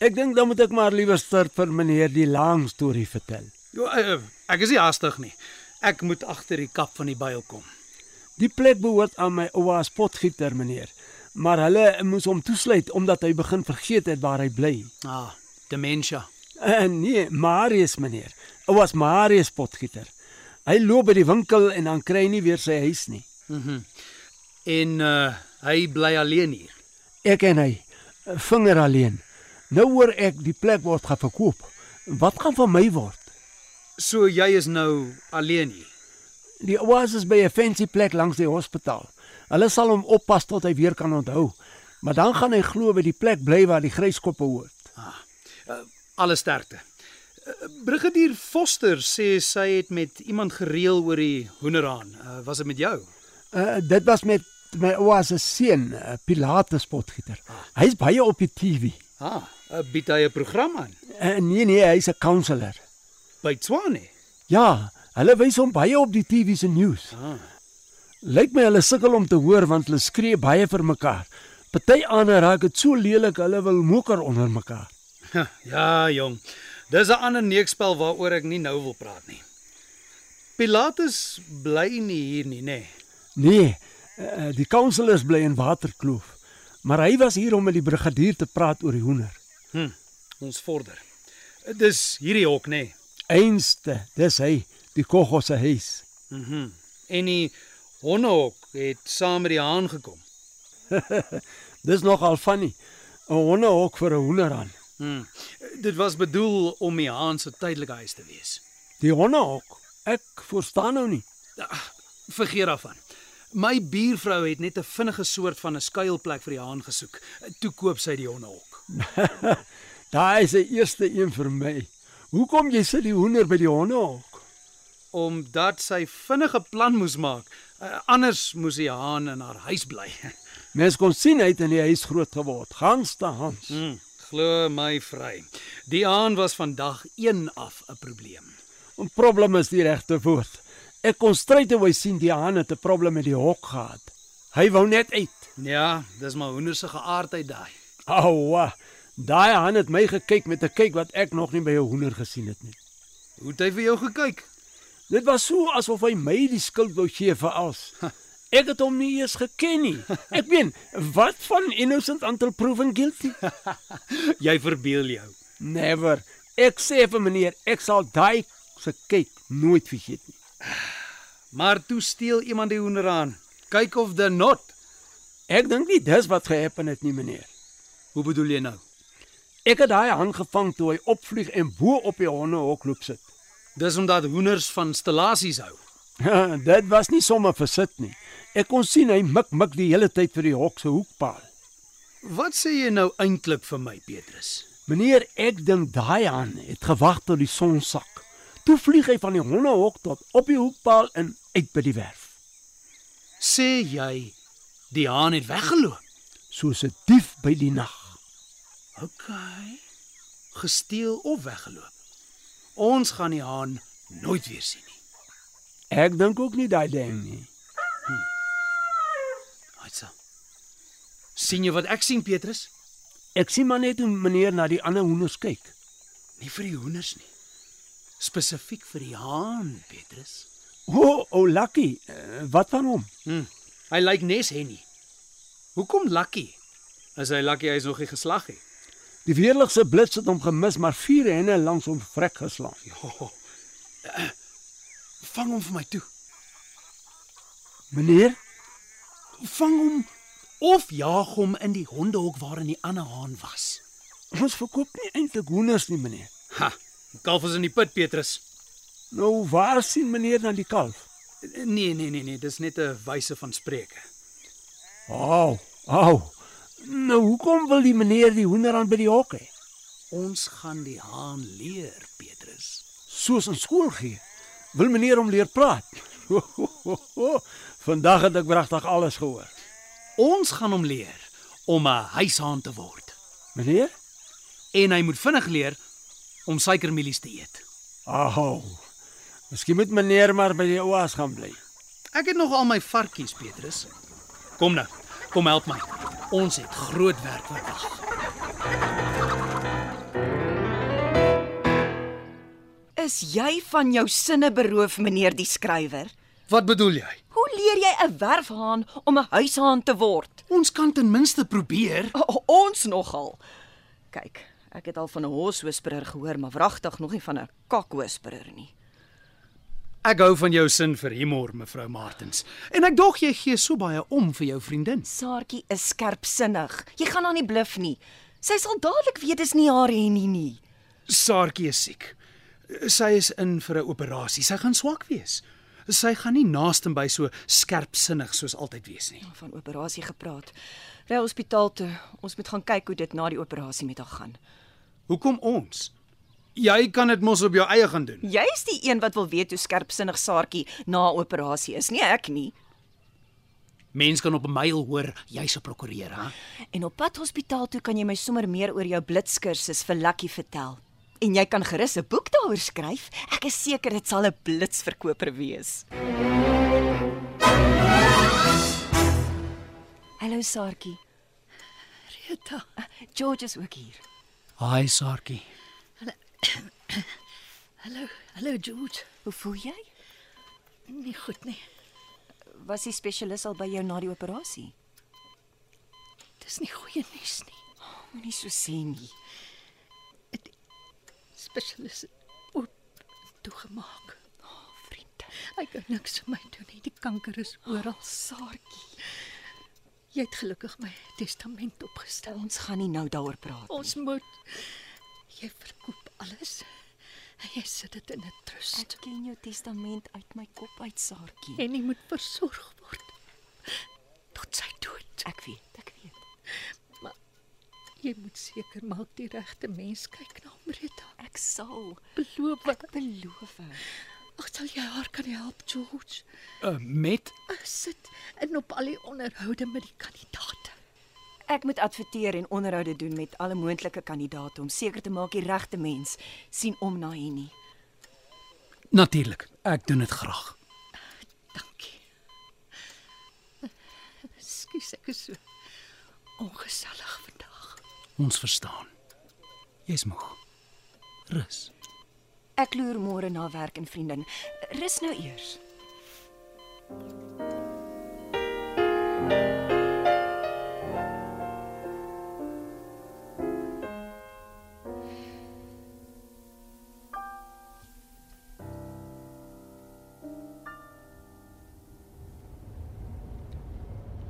H: Ek dink dan moet ek maar liewer start vir meneer die lang storie vertel.
A: Jo, eh, eh, ek is nie haastig nie. Ek moet agter die kap van die byl kom.
H: Die plek behoort aan my ouma as potgieter, meneer. Maar hulle moes hom toesluit omdat hy begin vergeet het waar hy bly.
A: Ah, dementia.
H: Uh, nee, Marius, meneer. Ouas Marius potgieter. Hy loop by die winkel en dan kry hy nie weer sy huis nie.
A: En uh, hy bly alleen hier.
H: Ek en hy eh, vinger alleen. Nou hoor ek die plek word gaan verkoop. Wat gaan van my word?
A: So jy is nou alleen hier.
H: Die ouas is by 'n fancy plek langs die hospitaal. Hulle sal hom oppas tot hy weer kan onthou. Maar dan gaan hy glo by die plek bly waar die gryskoppe hoort.
A: Alle sterkte. Eh, Brigadier Foster sê sy het met iemand gereël oor die hoenderhaan. Uh, was dit met jou?
H: Uh, dit was met my oupa se seun, eh, Pilatus potgieter. Hy's baie op die TV.
A: Ah, uh, bied hy 'n program aan
H: Uh, nee nee, hy's 'n counselor.
A: by Tswane.
H: Ja, hulle wys hom baie op die TV se nuus.
A: Ah.
H: Lyk my hulle sukkel om te hoor want hulle skree baie vir mekaar. Party ander raak dit so lelik hulle wil moker onder mekaar.
A: Huh, Ja, jong. Dis 'n ander neekspel waaroor ek nie nou wil praat nie. Pilatus bly nie hier nie, nê. Nee.
H: Nee, eh, eh, die counselors bly in Waterkloof. Maar hy was hier om met die brigadier te praat oor die hoender.
A: Hm, ons vorder. Eh, Dis hierdie hok, nê. Nee.
H: Einste, dis hy, die koggo se huis.
A: Mhm. Mm en die honnehok het saam met die haan gekom.
H: Dis nogal funny. 'n Hondehok vir 'n hoenderhan.
A: Hmm. Dit was bedoel om die haan se tydelike huis te wees.
H: Die hondehok, ek verstaan nou nie.
A: Vergeet daarvan. My buurvrou het net 'n vinnige soort van 'n skuilplek vir die haan gesoek. Toe koop sy die hondehok.
H: Daai is die eerste een vir my. Hoekom jy sit die hoender by die hondehok?
A: Omdat sy vinnige plan moes maak, eh, anders moes die haan in haar huis bly.
H: Mens kon sien hy het in die huis groot geword, gans te hans.
A: Hmm. Glo my vry. Die haan was vandag 1 af 'n probleem.
H: 'n Probleem is die regte woord. Ek kon stryd hoe sien die haan het 'n probleem met die hok gehad. Hy wou net uit.
A: Ja, dis maar hoender se geaardheid daai.
H: Ouwa, daai haan het my gekyk met 'n kyk wat ek nog nie by 'n hoender gesien het nie.
A: Hoe het hy vir jou gekyk?
H: Dit was so asof hy my die skuld wou gee vir alles. Ek het hom nie eens geken nie. Ek meen, wat van innocent until proven guilty?
A: Jy verbeel jou.
H: Never. Ek sê vir meneer, ek sal daai se kyk nooit vergeet nie.
A: Maar toe steel iemand die hoender aan. Kyk of the not.
H: Ek dink nie dis wat gehappen het nie, meneer.
A: Hoe bedoel jy nou?
H: Ek het daai hand gevang toe hy opvlieg en bo op die hondehok loop sit.
A: Dis omdat hoenders van stellasies hou.
H: Dit was nie sommer versit nie. Ek kon sien hy mik mik die hele tyd vir die hok se hoekpaal.
A: Wat sê jy nou eintlik vir my, Petrus?
H: Meneer, ek dink daai aan het gewag tot die son sak. Toe vlieg hy van die hondehok tot op die hoekpaal en uit by die werf.
A: Sê jy die haan het weggeloop?
H: Soos 'n dief by die nag.
A: OK. Gesteel of weggeloop? Ons gaan die haan nooit weer sien nie.
H: Ek dink ook nie daai ding nie.
A: Haitsa. sien jy wat ek sien, Petrus?
H: Ek sien maar net hoe meneer na die ander hoenders kyk.
A: Nie vir die hoenders nie. Spesifiek vir die haan, Petrus.
H: O, oh, oh, lucky. Eh, Wat van hom?
A: Hm. Hy lyk nes Henny. Hoekom Lucky? As hy Lucky hy is nog nie geslag nie.
H: Die weerligse blits het hom gemis, maar vier henne langs hom vrek geslaan.
A: Oh, vang hom vir my toe.
H: Meneer,
A: Vang hom of jaag hom in die hondehok waarin die ander haan was.
H: ons verkoop nie eintlik hoenders nie, meneer.
A: Ha, die kalf is in die put, Petrus.
H: Nou waar sien meneer na die kalf?
A: Nee, nee, nee, nee, dis net 'n wyse van spreuke.
H: Au, au. Nou hoekom wil die meneer die hoender aan by die hok hê?
A: Ons gaan die haan leer, Petrus.
H: Soos in skool gee. Wil meneer hom leer praat? Vandag het ek pragtig alles gehoor.
A: Ons gaan hom leer om 'n huishaan te word
H: Meneer?
A: en hy moet vinnig leer om suikermielies te eet.
H: Au. Miskien moet meneer maar by die oas gaan bly.
A: Ek het nog al my varkies, Petrus. Kom nou, kom help my. Ons het groot werk wat wag.
D: Is jy van jou sinne beroof, meneer die skrywer?
A: Wat bedoel jy?
D: Hoe leer jy 'n werfhaan om 'n huishaan te word?
A: Ons kan ten minste probeer.
D: O, ons nogal. Kyk, ek het al van 'n horswhisperer gehoor, maar wragtig nog nie van 'n kakwhisperer nie.
A: Ek hou van jou sin vir humor, mevrou Martens. En ek dog jy gee so baie om vir jou vriendin.
D: Saartjie is skerpsinnig. Jy gaan haar nie bluf nie. Sy sal dadelik weet dis nie haar Henny nie.
A: Saartjie is siek. Sy is in vir 'n operasie. Sy gaan swak wees. Sy gaan nie naasten by so skerpsinnig soos altyd wees nie.
D: Van operasie gepraat. Ry hospitaal toe. Ons moet gaan kyk hoe dit na die operasie met haar gaan.
A: Hoekom ons? Jy kan dit mos op jou eie gaan doen.
D: Jy's die een wat wil weet hoe skerpsinnig Saartjie na 'n operasie is, nie ek nie.
A: Mense kan op 'n myl hoor jy's 'n prokureur, hè?
D: En op pad hospitaal toe kan jy my sommer meer oor jou blitskursus vir Lucky vertel. En jy kan gerus 'n boek daaroor skryf. Ek is seker dit sal 'n blitsverkoper wees. Hallo Saartjie. Ah,
G: Rita,
D: George is ook hier.
A: Hi, Saartjie.
G: hallo, hallo George.
D: Hoe voel jy?
G: Nie goed nie.
D: Was die spesialis al by jou na die operasie?
G: Dis nie goeie nuus nie.
D: Moenie so sê nie.
G: Spesialis oop toegemaak.
D: Vriend,
G: Hy kan niks vir my doen nie. Die kanker is oral.
D: Saartjie.
G: Jy het gelukkig my testament opgestel.
D: Ons gaan nie nou daaroor praat nie.
G: Ons moet jy verkoop alles. En jy sit dit in 'n trust
D: Ek ken jou testament uit my kop uit, Saartjie.
G: en jy moet versorg word tot sy dood.
D: Ek weet, ek weet.
G: Jy moet seker maak die regte mens kyk na hom, Rita.
D: Ek sal.
G: Beloof.
D: Ek beloof.
G: Ag, sal jy haar kan help, George?
A: Uh, met
G: Ek sit in op al die onderhoude met die kandidaate.
D: Ek moet adverteer en onderhoude doen met alle moontlike kandidaate om seker te maak die regte mens sien om na Henny.
A: natuurlik. Ek doen dit graag.
G: Dankie. Skus ek is so ongesellig vandag.
A: Ons verstaan. Jy's moeg. Rus.
D: Ek loer môre na werk en vriendin. Rus nou eers.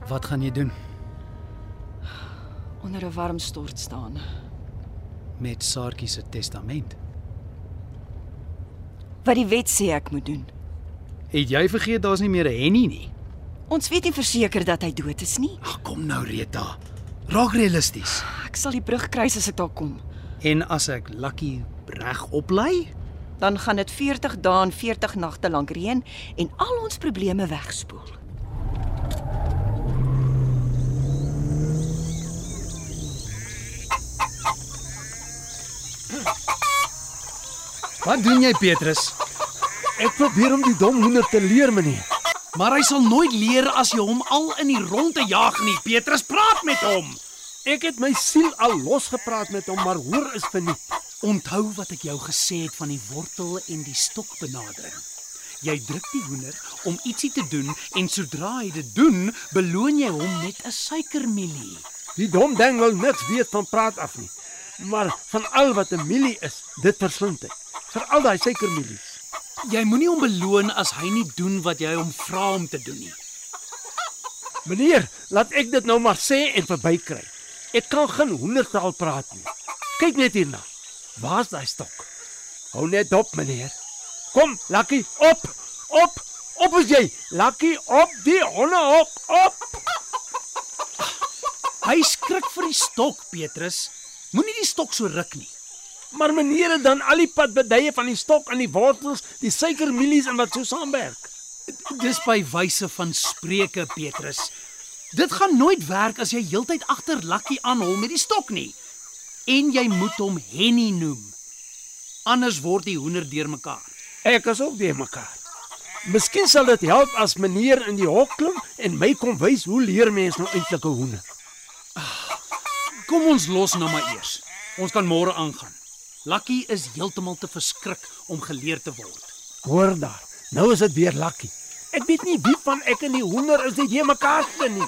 A: Wat gaan jy doen
D: Onder 'n warm stort staan.
A: met Saartjie se testament?
D: Wat die wet sê ek moet doen.
A: Het jy vergeet daar's nie meer 'n Henny nie?
D: Ons weet nie verseker dat hy dood is nie.
A: Ag kom nou Rita. Raak realisties.
D: Ek sal die brug kruis as ek daar kom.
A: En as ek Lucky reg oplei,
D: Dan gaan dit 40 dae en 40 nagte lank reën en al ons probleme wegspoel.
A: wat doen jy Petrus?
H: Ek probeer om die dom hoender te leer, meneer.
A: Maar hy sal nooit leer as jy hom al in die ronde jaag nie. Petrus, praat met hom.
H: Ek het my siel al losgepraat met hom, maar hoor is verniet.
A: Onthou wat ek jou gesê het van die wortel en die stokbenadering. Jy druk die hoender om ietsie te doen en sodra hy dit doen, beloon jy hom met 'n suikermielie.
H: Die dom ding wil niks weet van praat af nie. Maar van al wat 'n mielie is, dit verslind hy. Veral daai suikermielies.
A: Jy moenie hom beloon as hy nie doen wat jy hom vra om te doen nie.
H: Meneer, laat ek dit nou maar sê en verbykry. Ek kan geen hoendertaal praat nie. Kyk net hierna. Waar's daai stok? Hou net op, meneer. Kom, Lucky, op. Op. Op is jy. Lucky, op die honde op. Op.
A: Hy skrik vir die stok, Petrus. Moenie die stok so ruk nie.
H: Maar meneer het dan al die padbedye van die stok aan die wortels, die suikermielies en wat so saamwerk.
A: Dis by wyse van spreuke, Petrus. Dit gaan nooit werk as jy heeltyd agter Lucky aanhol met die stok nie. En jy moet hom Henny noem. Anders word die hoender deurmekaar.
H: Ek is ook die mekaar. Miskien sal dit help as meneer in die hok klim en my kom wys hoe leer mens nou eintlik 'n hoender.
A: Kom ons los nou maar eers. Ons kan môre aangaan. Lucky is heeltemal te verskrik om geleer te word.
H: Hoor daar. Nou is dit weer lucky. Ek weet nie wie van ek en die hoender is dit jy mekaar te nie.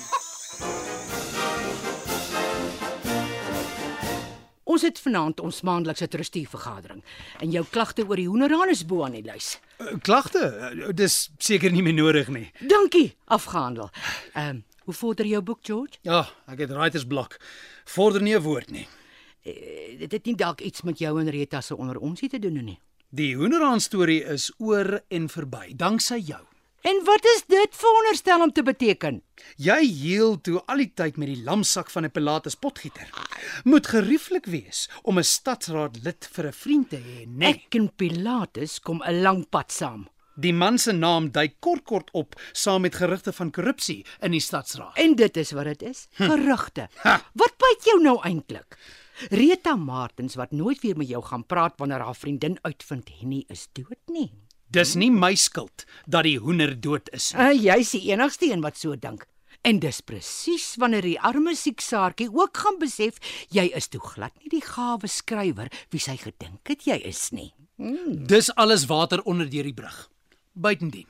C: Ons het vanaand ons maandelikse trusteevergadering en jou klagte oor die hoenderhaan is bo aan die lys.
A: Klagte, dis seker nie meer nodig nie.
C: Dankie, afgehandel. Ehm, um, hoe vorder jou boek, George?
A: Ja, ek het writers blok. Vorder nie 'n woord nie.
C: Eh, Dit het nie dalk iets met jou en Rita se onder ons te doen nie.
A: Die hoenderhaan storie is oor en verby, danksy jou.
C: En wat is dit veronderstel om te beteken?
A: Jy heel toe al die tyd met die lamsak van 'n Pilatus potgieter. Moet gerieflik wees om 'n stadsraad lid vir 'n vriend te hê, né? Nee.
C: Ek en Pilatus kom 'n lang pad saam.
A: Die man se naam dui kort kort op saam met gerugte van korrupsie in die stadsraad.
C: En dit is wat dit is, gerugte. Wat byt jou nou eintlik? Rita Martens wat nooit weer met jou gaan praat wanneer haar vriendin uitvind Henny is dood nie.
A: Dis nie my skuld dat die hoender dood is nie.
C: Uh, jy's die enigste een wat so dink. En dis presies wanneer die arme sieksaartjie ook gaan besef jy is toe glad nie die gawe skrywer wie sy gedink het jy is nie.
A: Dis alles water onder deur die brug. Buitendien.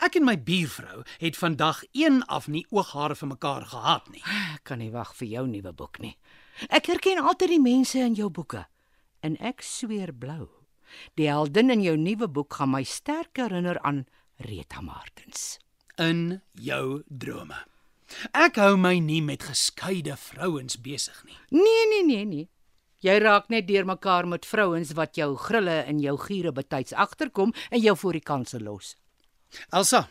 A: Ek en my buurvrou het vandag een af nie ooghare vir mekaar gehad nie.
C: Ek Ah, kan nie wag vir jou nuwe boek nie. Ek herken altyd die mense in jou boeke en ek sweer blou. Die heldin in jou nuwe boek gaan my sterk herinner aan Rita Martens.
A: In jou drome. Ek hou my nie met geskeide vrouens besig nie.
C: Nee, nee, nee, nee. Jy raak net deurmekaar met vrouens wat jou grille en jou giere betyds agterkom en jou voor die kanse los.
A: Elsa,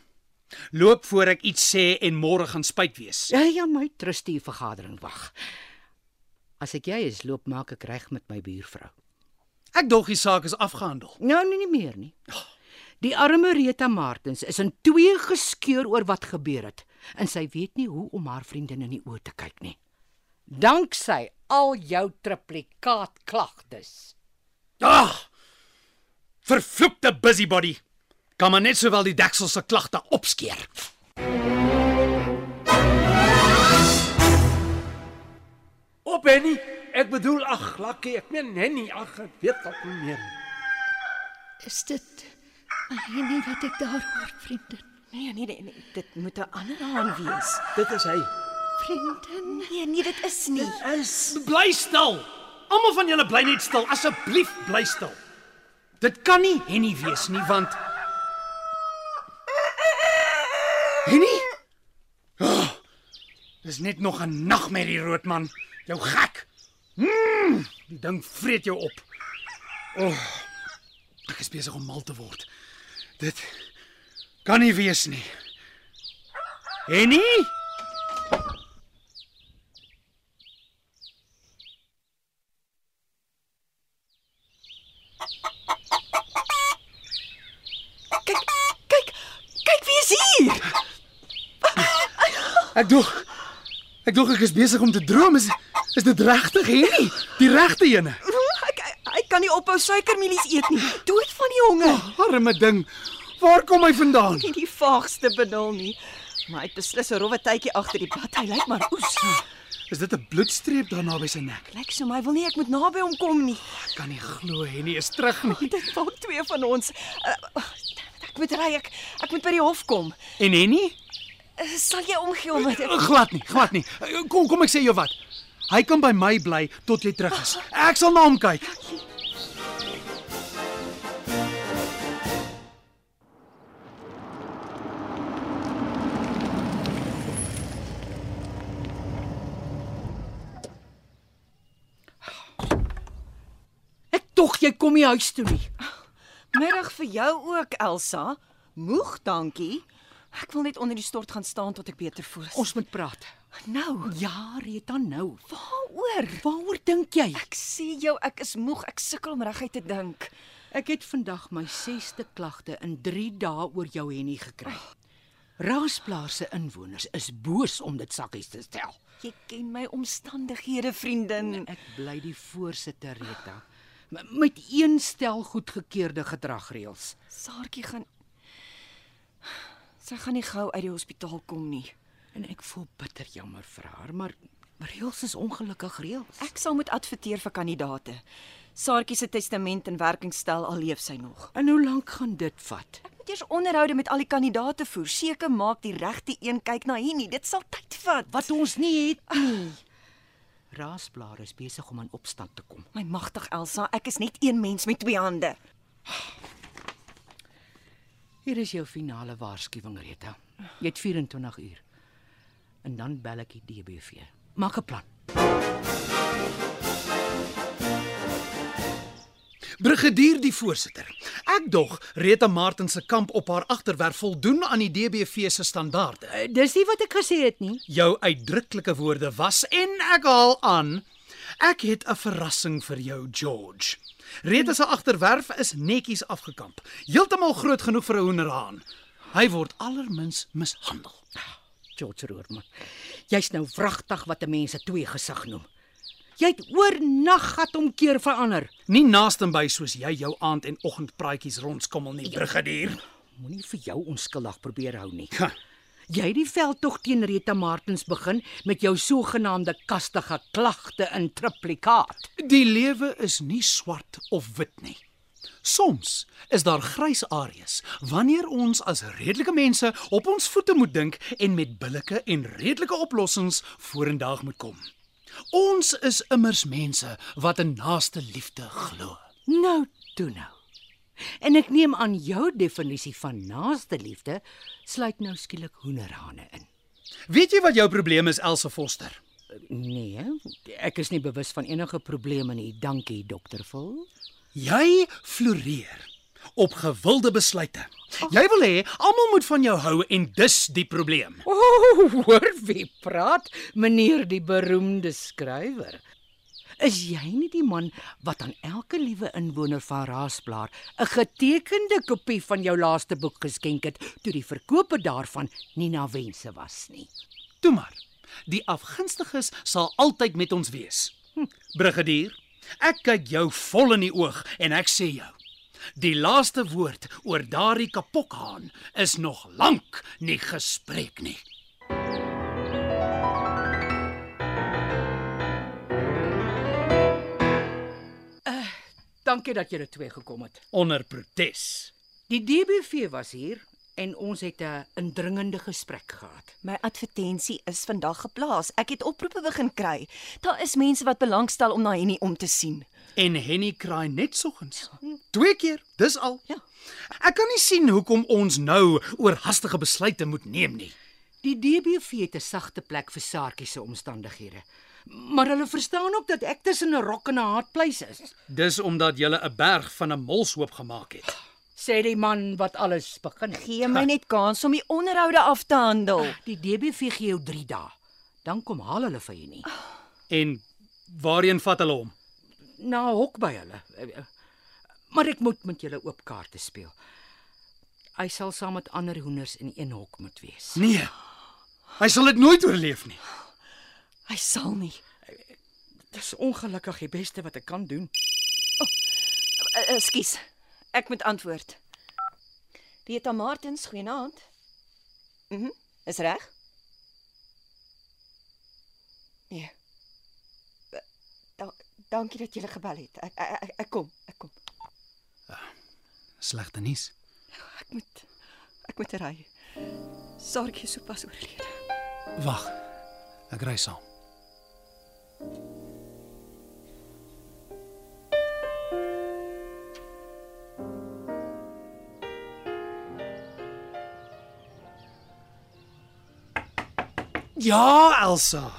A: loop voor ek iets sê en môre gaan spyt wees.
C: Ja, ja, my trustee vergadering wag. As ek jy is, loop maak ek reg met my buurvrou.
A: Ek dog die saak is afgehandel.
C: Nou nee, nie meer nie. Die arme Rita Martens is in twee geskeur oor wat gebeur het en sy weet nie hoe om haar vriendin in die oë te kyk nie. Danksy al jou triplikaat klagtes.
A: Ag! Vervloekte busybody. Kan maar net sowel die deksel se klagte opskeer.
H: Op Henny. Oh, Ek bedoel ag, lakkie, ek meen Henny, ag, ek weet wat nie meer.
G: Is dit Henny wat ek daar hoor, vriendin?
D: Nee, nee, nee, nee, dit moet 'n ander haan wees.
H: Dit is hy.
G: Vriendin,
D: Nee, nee, dit is nie.
H: Is
A: Bly stil. Almal van julle bly net stil, asseblief bly stil. Dit kan nie Henny wees nie want Henny? Oh, dis net nog 'n nagmerrie roodman, jou gek. Mm, die ding vreet jou op. Oh, ek is besig om mal te word. Dit kan nie wees nie. Henny?
D: Kyk, kyk, kyk wie is hier?
A: Ek dog ek dog ek is besig om te droom. Is is dit regtig hierdie? Die regte ene.
D: Ek ek- ek kan nie ophou suikermielies eet nie. Dood van die honger.
A: Arme ding. Waar kom hy vandaan?
D: Nie die vaagste benul nie. Maar hy het beslis 'n rowwe tydjie agter die pad. Hy lyk maar oes.
A: Is dit 'n bloedstreep daar naby sy nek?
D: Lyk so my wil nie ek moet naby hom kom nie.
A: Ek kan nie glo Henny is terug nie.
D: Dit maak twee van ons. Uh, ek moet ry. Ek ek moet by die hof kom.
A: En Henny?
D: Uh, sal jy omgee om dit?
A: Glad nie, glad nie. Kom kom ek sê jou wat. Hy kan by my bly tot jy terug is. Ek sal na hom kyk.
C: Ek tog jy kom nie huis toe nie.
D: Middag vir jou ook, Elsa. Moeg, dankie. Ek wil net onder die stort gaan staan tot ek beter voel.
C: Ons moet praat.
D: nou,
C: Ja, Rita nou.
D: waaroor?
C: Waaroor dink jy?
D: Ek sê jou, ek is moeg. Ek sukkel om reguit te dink.
C: Ek het vandag my 6ste klagte in 3 dae oor jou Henny gekry. Raasplaas se inwoners is boos om dit sakkies te stel.
D: Jy ken my omstandighede, vriendin.
C: Ek bly die voorsitter Rita m- met een stel goedgekeurde gedragreëls.
D: Saartjie gaan Sy gaan nie gou uit die hospitaal kom nie.
C: En ek voel bitter jammer vir haar, maar reëls is ongelukkig reëls.
D: Ek sal moet adverteer vir kandidate. Saartjie se testament in werking stel al leef sy nog.
C: En hoe lank gaan dit vat?
D: Ek moet eers onderhoude met al die kandidate voer. Seker maak die regte een kyk na hier nie. Dit sal tyd vat.
C: Wat ons nie het nie. Raasblaar is besig om in opstand te kom.
D: My magtig Elsa, ek is net een mens met twee hande.
C: Hier is jou finale waarskuwing, Rita. Jy het 24 uur. En dan bel ek die DBV. Maak 'n plan.
A: Brigadier die voorsitter. Ek dog Rita Martin se kamp op haar agterwerf voldoen aan die DBV se standaarde.
C: Eh, Dis nie wat ek gesê het nie.
A: Jou uitdruklike woorde was en ek haal aan, ek het 'n verrassing vir jou, George. Rita se agterwerf is netjies afgekamp, heeltemal groot genoeg vir 'n hoenderhaan. Hy word allermins mishandel.
C: George Roerman. Jy's nou wragtig wat mense twee gesig noem. Jy het oornag gat om keer verander.
A: Nie naaste by soos jy jou aand en oggend praatjies rondskommel nie, brigadier.
C: Moenie vir jou onskuldig probeer hou nie.
A: Ha,
C: Jy het die veldtog teen Rita Martens begin met jou sogenaamde kastige klagte in triplikaat.
A: Die lewe is nie swart of wit nie. Soms is daar grys areas wanneer ons as redelike mense op ons voete moet dink en met billike en redelike oplossings vorendag moet kom. Ons is immers mense wat in naaste liefde glo.
C: Nou toe nou. En ek neem aan jou definisie van naaste liefde sluit nou skielik hoenderhane in.
A: Weet jy wat jou probleem is, Elsa Foster?
C: Nee, ek is nie bewus van enige probleme nie. Dankie, dokter Vol.
A: Jy floreer op gewilde besluite. Jy wil hê almal moet van jou hou en dis die probleem.
C: O, oh, hoor wie praat, meneer die beroemde skrywer. Is jy nie die man wat aan elke liewe inwoner van Raasblaar 'n getekende kopie van jou laaste boek geskenk het toe die verkoper daarvan nie na wense was nie?
A: Toe maar. Die afgunstiges sal altyd met ons wees. Hm, Brigadier, ek kyk jou vol in die oog en ek sê jou, die laaste woord oor daardie kapokhaan is nog lank nie gespreek nie.
C: Dankie dat julle twee gekom het.
A: Onder protes.
C: Die DBV was hier en ons het 'n indringende gesprek gehad.
D: My advertensie is vandag geplaas. Ek het oproepe begin kry. Daar is mense wat belangstel om na Henny om te sien.
A: En Henny kraai net soggens. Twee keer, dis al.
D: Ja.
A: Ek kan nie sien hoekom ons nou oorhaastige besluite moet neem nie.
C: Die DBV het 'n sagte plek vir saartjies se omstandighede. Maar hulle verstaan ook dat ek tussen 'n rok en 'n haatpleis is,
A: Dis omdat jy 'n berg van 'n molshoop gemaak het.
C: sê die man wat alles begin het.
D: Gee my net kans om die onderhoude af te handel.
C: Die DBV gee jou 3 dae. Dan kom haal hulle vir jou nie.
A: En waarheen vat hulle hom?
C: Na 'n hok by hulle. Maar ek moet met julle oop kaarte speel. Hy sal saam met ander hoenders in een hok moet wees.
A: Nee. Hy sal dit nooit oorleef nie.
D: Hy sal nie.
C: Dis ongelukkig die beste wat ek kan doen.
D: Uh, Ekskuus. Ek moet antwoord. Rita Martins, goeienaand. Mhm. Mm is reg? Nee. Eh, Da dankie dat jy gebel het. Ek ek, ek- ek kom, ek kom.
A: Slegte nuus.
D: Ek moet ek moet ry. Saartjie is sopas oorlede.
A: Wag. Ek ry saam. Ja, Elsa.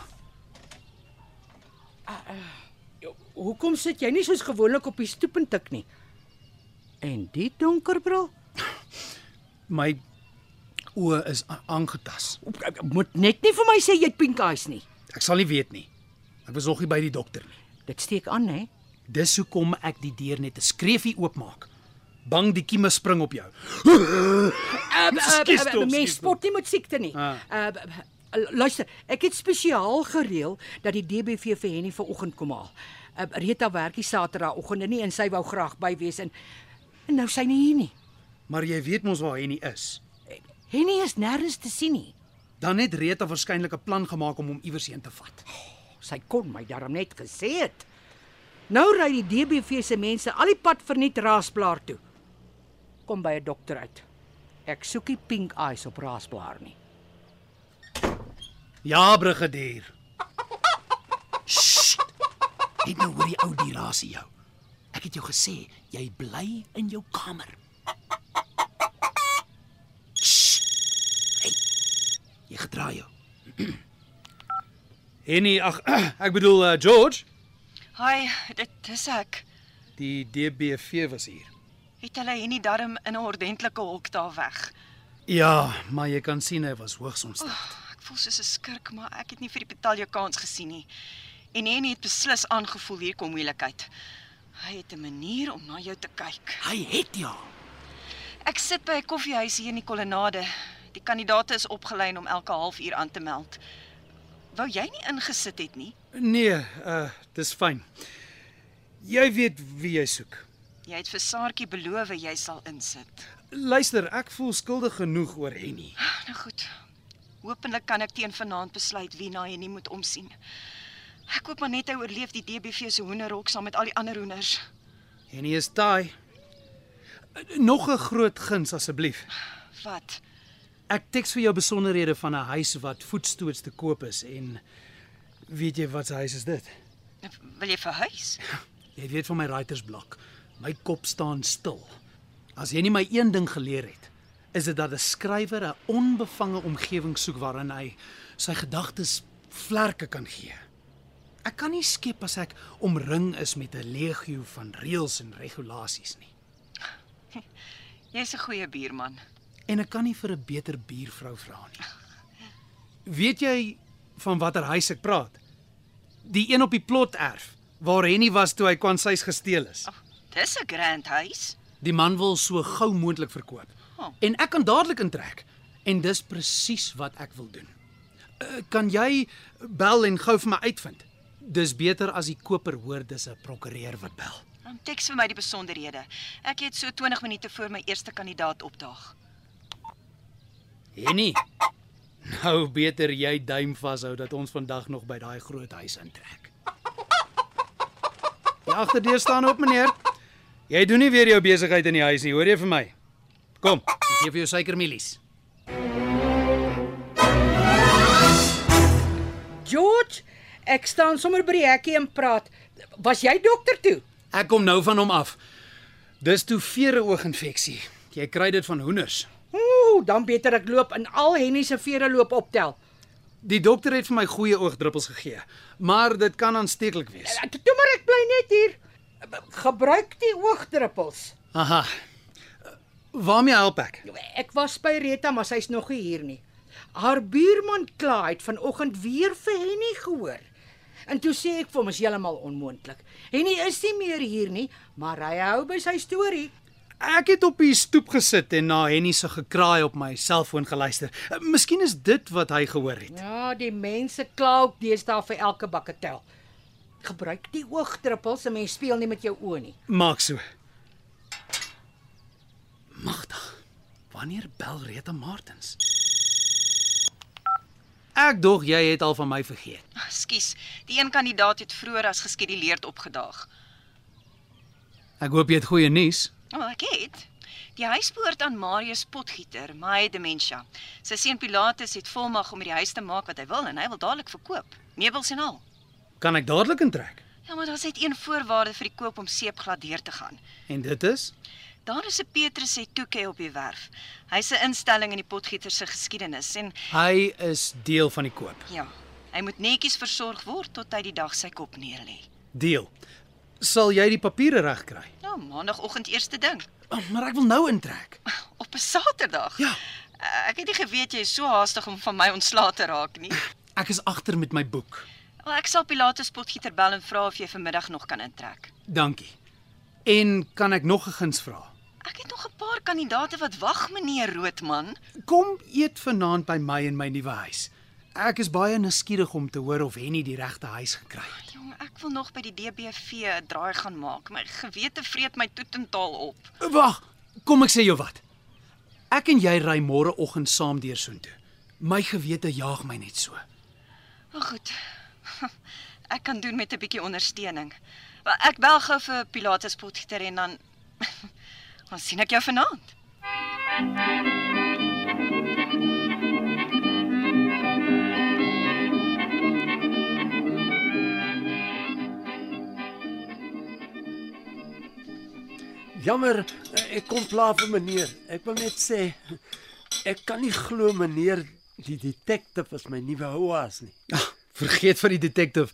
C: Hoekom sit jy nie soos gewoonlik op die stoep en tik nie? En die donker bril
A: My oë is a- aangetas.
C: moet net nie vir my sê jy het pink eyes nie.
A: Ek sal nie weet nie. Ek was nog nie by die dokter nie.
C: Dit steek aan, hè?
A: Dis hoekom ek die deur net 'n skreefie oopmaak. Bang die kieme spring op jou. Skies toe, skies
C: Mens
A: toe.
C: spot nie met siekte nie.
A: Ah.
C: Uh, b- b- l- luister, ek het spesiaal gereël dat die DBV vir Henny vanoggend kom haal. Uh, Rita werk die Saterdagoggende nie en sy wou graag by wees en, en nou sy nie hier nie.
A: Maar jy weet mos waar Henny is.
C: Henny is nêrens te sien nie.
A: Dan het Rita waarskynlik 'n plan gemaak om hom iewers heen te vat.
C: Sy kon my daarom net gesê het. Nou ry die DBV se mense al die pad verniet Raasblaar toe. Kom by 'n dokter uit. Ek soek nie pink eyes op Raasblaar nie.
A: Ja, brigadier. Sst. Net nou hoor die ou dier rasie jou. Ek het jou gesê, jy bly in jou kamer. Sst. Hey, jy gedraai jou. Henny, ag, ek bedoel uh, George,
D: Hi, dit is ek.
A: die DBV was hier.
D: Het hulle Henny darm in 'n ordentlike hok daar weg.
A: Ja, maar jy kan sien hy was hoogs ontstel.
D: Ek voel soos 'n skurk, maar ek het nie vir die Betalje kans gesien nie. En Henny het beslis aangevoel hier kom moeilikheid. Hy het 'n manier om na jou te kyk.
A: Hy het ja.
D: Ek sit by 'n koffiehuis hier in die kolonnade. Die kandidaate is opgelei om elke halfuur aan te meld. Wou jy nie ingesit het nie?
A: Nee, uh dis fyn. Jy weet wie jy soek.
D: Jy het vir Saartjie beloof jy sal insit.
A: Luister, ek voel skuldig genoeg oor Henny.
D: Nou goed. Hoopelik kan ek teen vanaand besluit wie na jy nie moet omsien. Ek hoop maar net hy oorleef die DBV se hoenderhok saam met al die ander hoenders.
A: Henny is taai. Nog 'n groot guns asseblief.
D: Wat?
A: Ek teks vir jou besonderhede van 'n huis wat voetstoots te koop is en weet jy wat se huis is dit?
D: Nou, Wil jy verhuis?
A: Jy weet van my writersblok. My kop staan stil. As jy nie my een ding geleer het, is dit dat 'n skrywer 'n onbevange omgewing soek waarin hy sy gedagtes vlerke kan gee. Ek kan nie skep as ek omring is met 'n legio van reëls en regulasies nie.
D: Jy's 'n goeie buurman.
A: En ek kan nie vir 'n beter buurvrou vra nie. Weet jy van watter huis ek praat? Die een op die plot erf waar Henny was toe hy kwansys gesteel is.
D: Dis 'n grand huis.
A: Die man wil so gou moontlik verkoop.
D: Oh.
A: En ek kan dadelik intrek. En dis presies wat ek wil doen. Uh, kan jy bel en gou vir my uitvind? Dis beter as die koper hoor dis 'n prokureur wat bel.
D: Um, teks vir my die besonderhede. Ek het so 20 minute voor my eerste kandidaat opdaag.
A: Henny. Nou beter jy duim vashou dat ons vandag nog by daai groot huis intrek. Die agterdeur staan oop, meneer. Jy doen nie weer jou besigheid in die huis nie, hoor jy vir my? Kom, ek gee vir jou suikermielies.
C: George, ek staan sommer by die hekkie en praat. Was jy dokter toe?
A: Ek kom nou van hom af. Dis toe vere ooginfeksie. Jy kry dit van hoenders.
C: Ooh, dan beter ek loop en al Henny se vere loop optel.
A: Die dokter het vir my goeie oogdruppels gegee, maar dit kan aansteeklik wees.
C: Toe maar ek bly net hier. Gebruik die oogdruppels.
A: Aha. Waarmee help ek?
C: Ek was by Rita, maar sy's nog nie hier nie. Haar buurman Kla het vanoggend weer vir Henny gehoor. En toe sê ek vir hom is heeltemal onmoontlik. Henny is nie meer hier nie, maar hy hou by sy storie.
A: Ek het op die stoep gesit en na Henny se gekraai op my selfoon geluister. Eh, Miskien is dit wat hy gehoor het.
C: Ja, die mense kla ook deesdae vir elke bakke tel. Gebruik die oogdruppels, 'n mens speel nie met jou oë nie.
A: Maak so. Magtig. Wanneer bel Rita Martens? Ek dog jy het al van my vergeet.
D: Ekskuus, die een kandidaat het vroeër as geskeduleerd opgedaag.
A: Ek hoop jy het goeie nuus.
D: O, oh, ek het. Die huis behoort aan Marius Potgieter, maar hy het demensie. Sy seun Pilatus het volmag om hierdie huis te maak wat hy wil en hy wil dadelik verkoop, meubels en al.
A: Kan ek dadelik intrek?
D: Ja, maar daar's net een voorwaarde vir die koop om seepglad deur te gaan.
A: En dit is
D: Daar is 'n Petrus Setuke op die werf. Hy's 'n instelling in die potgieter se geskiedenis en
A: hy is deel van die koop.
D: ja, hy moet netjies versorg word tot hy die dag sy kop neerlê.
A: Deel. Sal jy die papiere regkry?
D: Nou, maandagooggend eerste ding,
A: Oh, maar ek wil nou intrek.
D: op 'n Saterdag.
A: Ja.
D: Eh, Ek het nie geweet jy is so haastig om van my ontslae te raak nie.
A: Ek is agter met my boek.
D: Wel, ek sal Pilatus potgieter bel en vra of jy vanmiddag nog kan intrek.
A: Dankie. En kan ek nog 'n guns vra?
D: Ek het nog 'n paar kandidaate wat wag, meneer Roodman.
A: Kom eet vanaand by my in my nuwe huis. Ek is baie nuuskierig om te hoor of Henny die regte huis gekry het.
D: Jong, ek wil nog by die DBV 'n draai gaan maak. My gewete vreet my toetentaal op.
A: Wag, kom ek sê jou wat. Ek en jy ry môreoggend saam deur soontoe. My gewete jaag my net so.
D: Maar goed. Ek kan doen met 'n bietjie ondersteuning. Wel, ek bel gou vir Pilatus Potgieter en dan dan sien ek jou vanaand.
H: Jammer, eh, ek kom pla vir meneer. Ek wil net sê ek kan nie glo meneer die detective is my nuwe houas nie.
A: Ag, vergeet van die detective.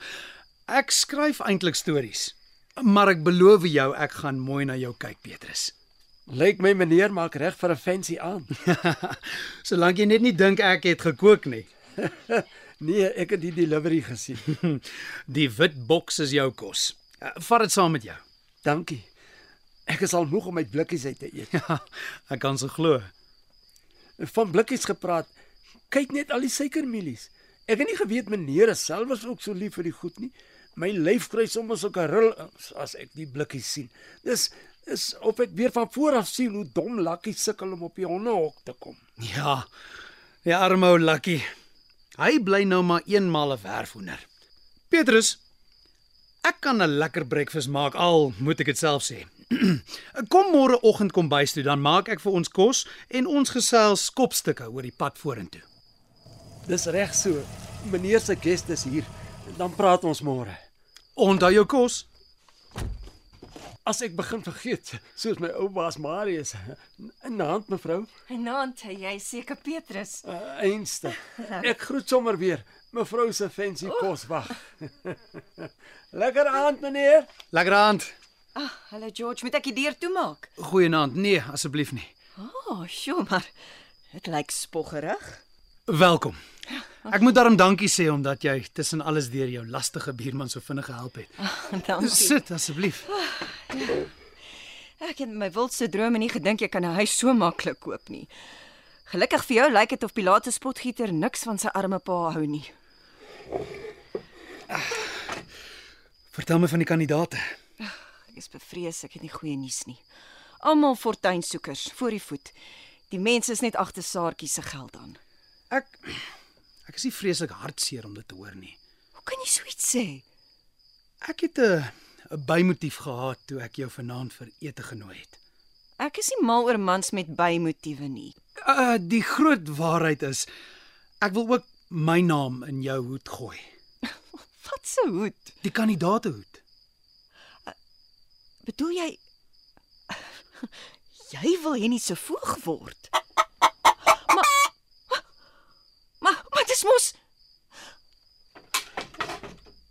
A: Ek skryf eintlik stories. Maar ek beloof jou ek gaan mooi na jou kyk, Petrus.
H: Lyk my meneer maak reg vir 'n fancy aan.
A: Solank jy net nie dink ek het gekook nie.
H: Nee, ek het die delivery gesien.
A: Die wit boks is jou kos. Eh, Vat dit saam met jou.
H: Dankie. Ek is al moeg om my blikkies uit te eet.
A: Ja, ek kan se glo.
H: Van blikkies gepraat. Kyk net al die suikermielies. Ek het nie geweet meneer is self is ook so lief vir die goed nie. My lyf kry soms ook 'n ril as ek die blikkies sien. Dis is of ek weer van voor af sien hoe dom Lakkie sukkel om op die hondehok te kom.
A: Ja. Die arme ou Lucky. Hy bly nou maar eenmal 'n werfhoender. Petrus, ek kan 'n lekker breakfast maak al moet ek dit self sê. kom môreoggend kom bys toe, dan maak ek vir ons kos en ons gesels kopstukke oor die pad vorentoe.
H: Dis reg so. Meneer se gest is hier. Dan praat ons môre.
A: Onthou jou kos.
H: As ek begin vergeet, soos my ou baas Marius, in die hand mevrou,
C: Vanaand, jy is seker Petrus.
H: uh, einste. Ek groet sommer weer. Mevrou se fancy kos wag. Lekker aand meneer.
A: Lekker aand.
C: Ag, hallo Ah, George, moet ek die deur toemaak?
A: Goeienaand. Nee, asseblief nie.
C: O, oh, sjoe, maar dit lyk spoggerig.
A: Welkom. Ek moet daarom dankie sê omdat jy tussen alles deur jou lastige buurman so vinnig gehelp het.
C: Dankie.
A: Sit asseblief.
C: Ek het in my wildste drome nie gedink jy kan 'n huis so maklik koop nie. Gelukkig vir jou lyk dit of Pilate spotgieter niks van sy arme pa hou nie.
A: Vertel my van die kandidate.
C: Ek is bevrees ek het nie goeie nuus nie. Almal fortuinsoekers voor die voet. Die mense is net agter Saartjie se geld aan.
A: Ek ek is nie vreeslik hartseer om dit te hoor nie.
C: Hoe kan jy so iets sê?
A: Ek het 'n 'n bymotief gehad toe ek jou vanaand vir ete genooi het.
C: Ek is nie mal oor mans met bymotiewe nie.
A: Uh die groot waarheid is ek wil ook my naam in jou hoed gooi.
C: Wat se hoed?
A: Die kandidaatehoed.
C: Bedoel jy jy wil hier nie se voog word? Maar maar maar dis mos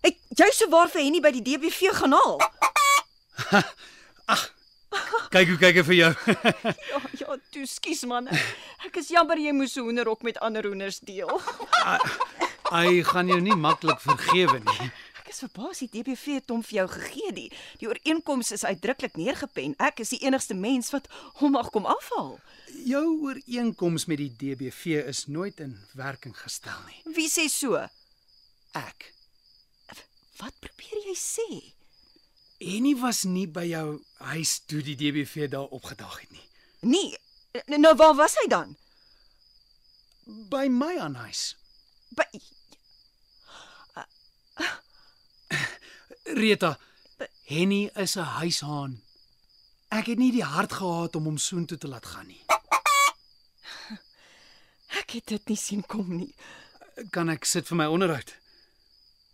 C: Ek jy sou waar vir Henny by die DBV gaan haal.
A: Kyk hoe kyk hy vir jou.
C: Ja, ja, toe skus man. Ek is jammer jy moes 'n hoenderhok met ander hoenders deel.
A: Ah, Hy gaan jou nie maklik vergewe nie.
C: Ek is verbaas die DBV het hom vir jou gegee. Die, die ooreenkoms is uitdruklik neergepen. Ek is die enigste mens wat hom mag kom afhaal.
A: Jou ooreenkoms met die DBV is nooit in werking gestel nie.
C: Wie sê so?
A: Ek
C: Wat probeer jy sê?
A: en hy was nie by jou huis toe die DBV daar opgedag het nie.
C: Nee, n- nou waar was hy dan?
A: By my aan huis.
C: By
A: Rita, Henny is 'n huishaan. Ek het nie die hart gehad om hom soontoe te laat gaan nie.
C: ek het dit nie sien kom nie.
A: Kan ek sit vir my onderhoud?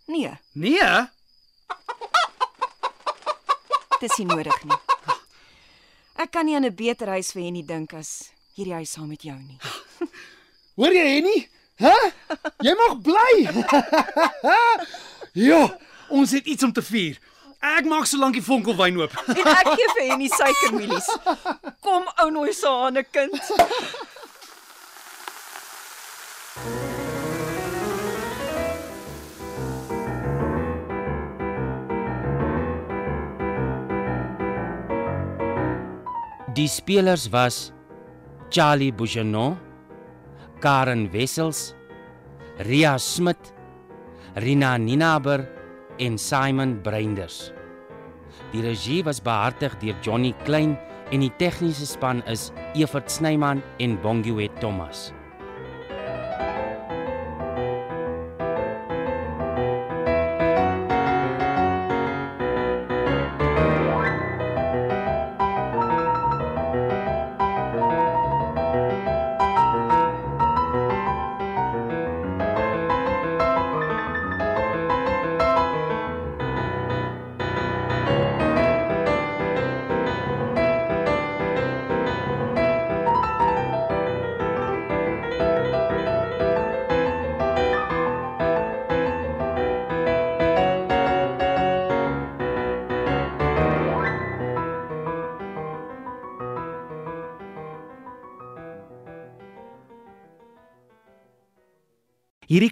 C: Nee,
A: Nee.
C: dit is nie nodig nie. Ek kan nie aan 'n beter huis vir Henny dink as hierdie huis saam met jou nie.
A: Hoor jy Henny? Hæ? Jy mag bly. ja, ons het iets om te vier. Ek maak solank die vonkelwyn oop.
C: En ek gee vir Henny suikermielies. Kom ou nooi se hane kind.
B: Die spelers was Charlie Bouchenon, Karen Wessels, Ria Smit, Rina Ninaber en Simon Breinders. Die regie was behartig deur Johnny Klein en die tegniese span is Evert Snyman en Bongwe Thomas.
I: Hierdie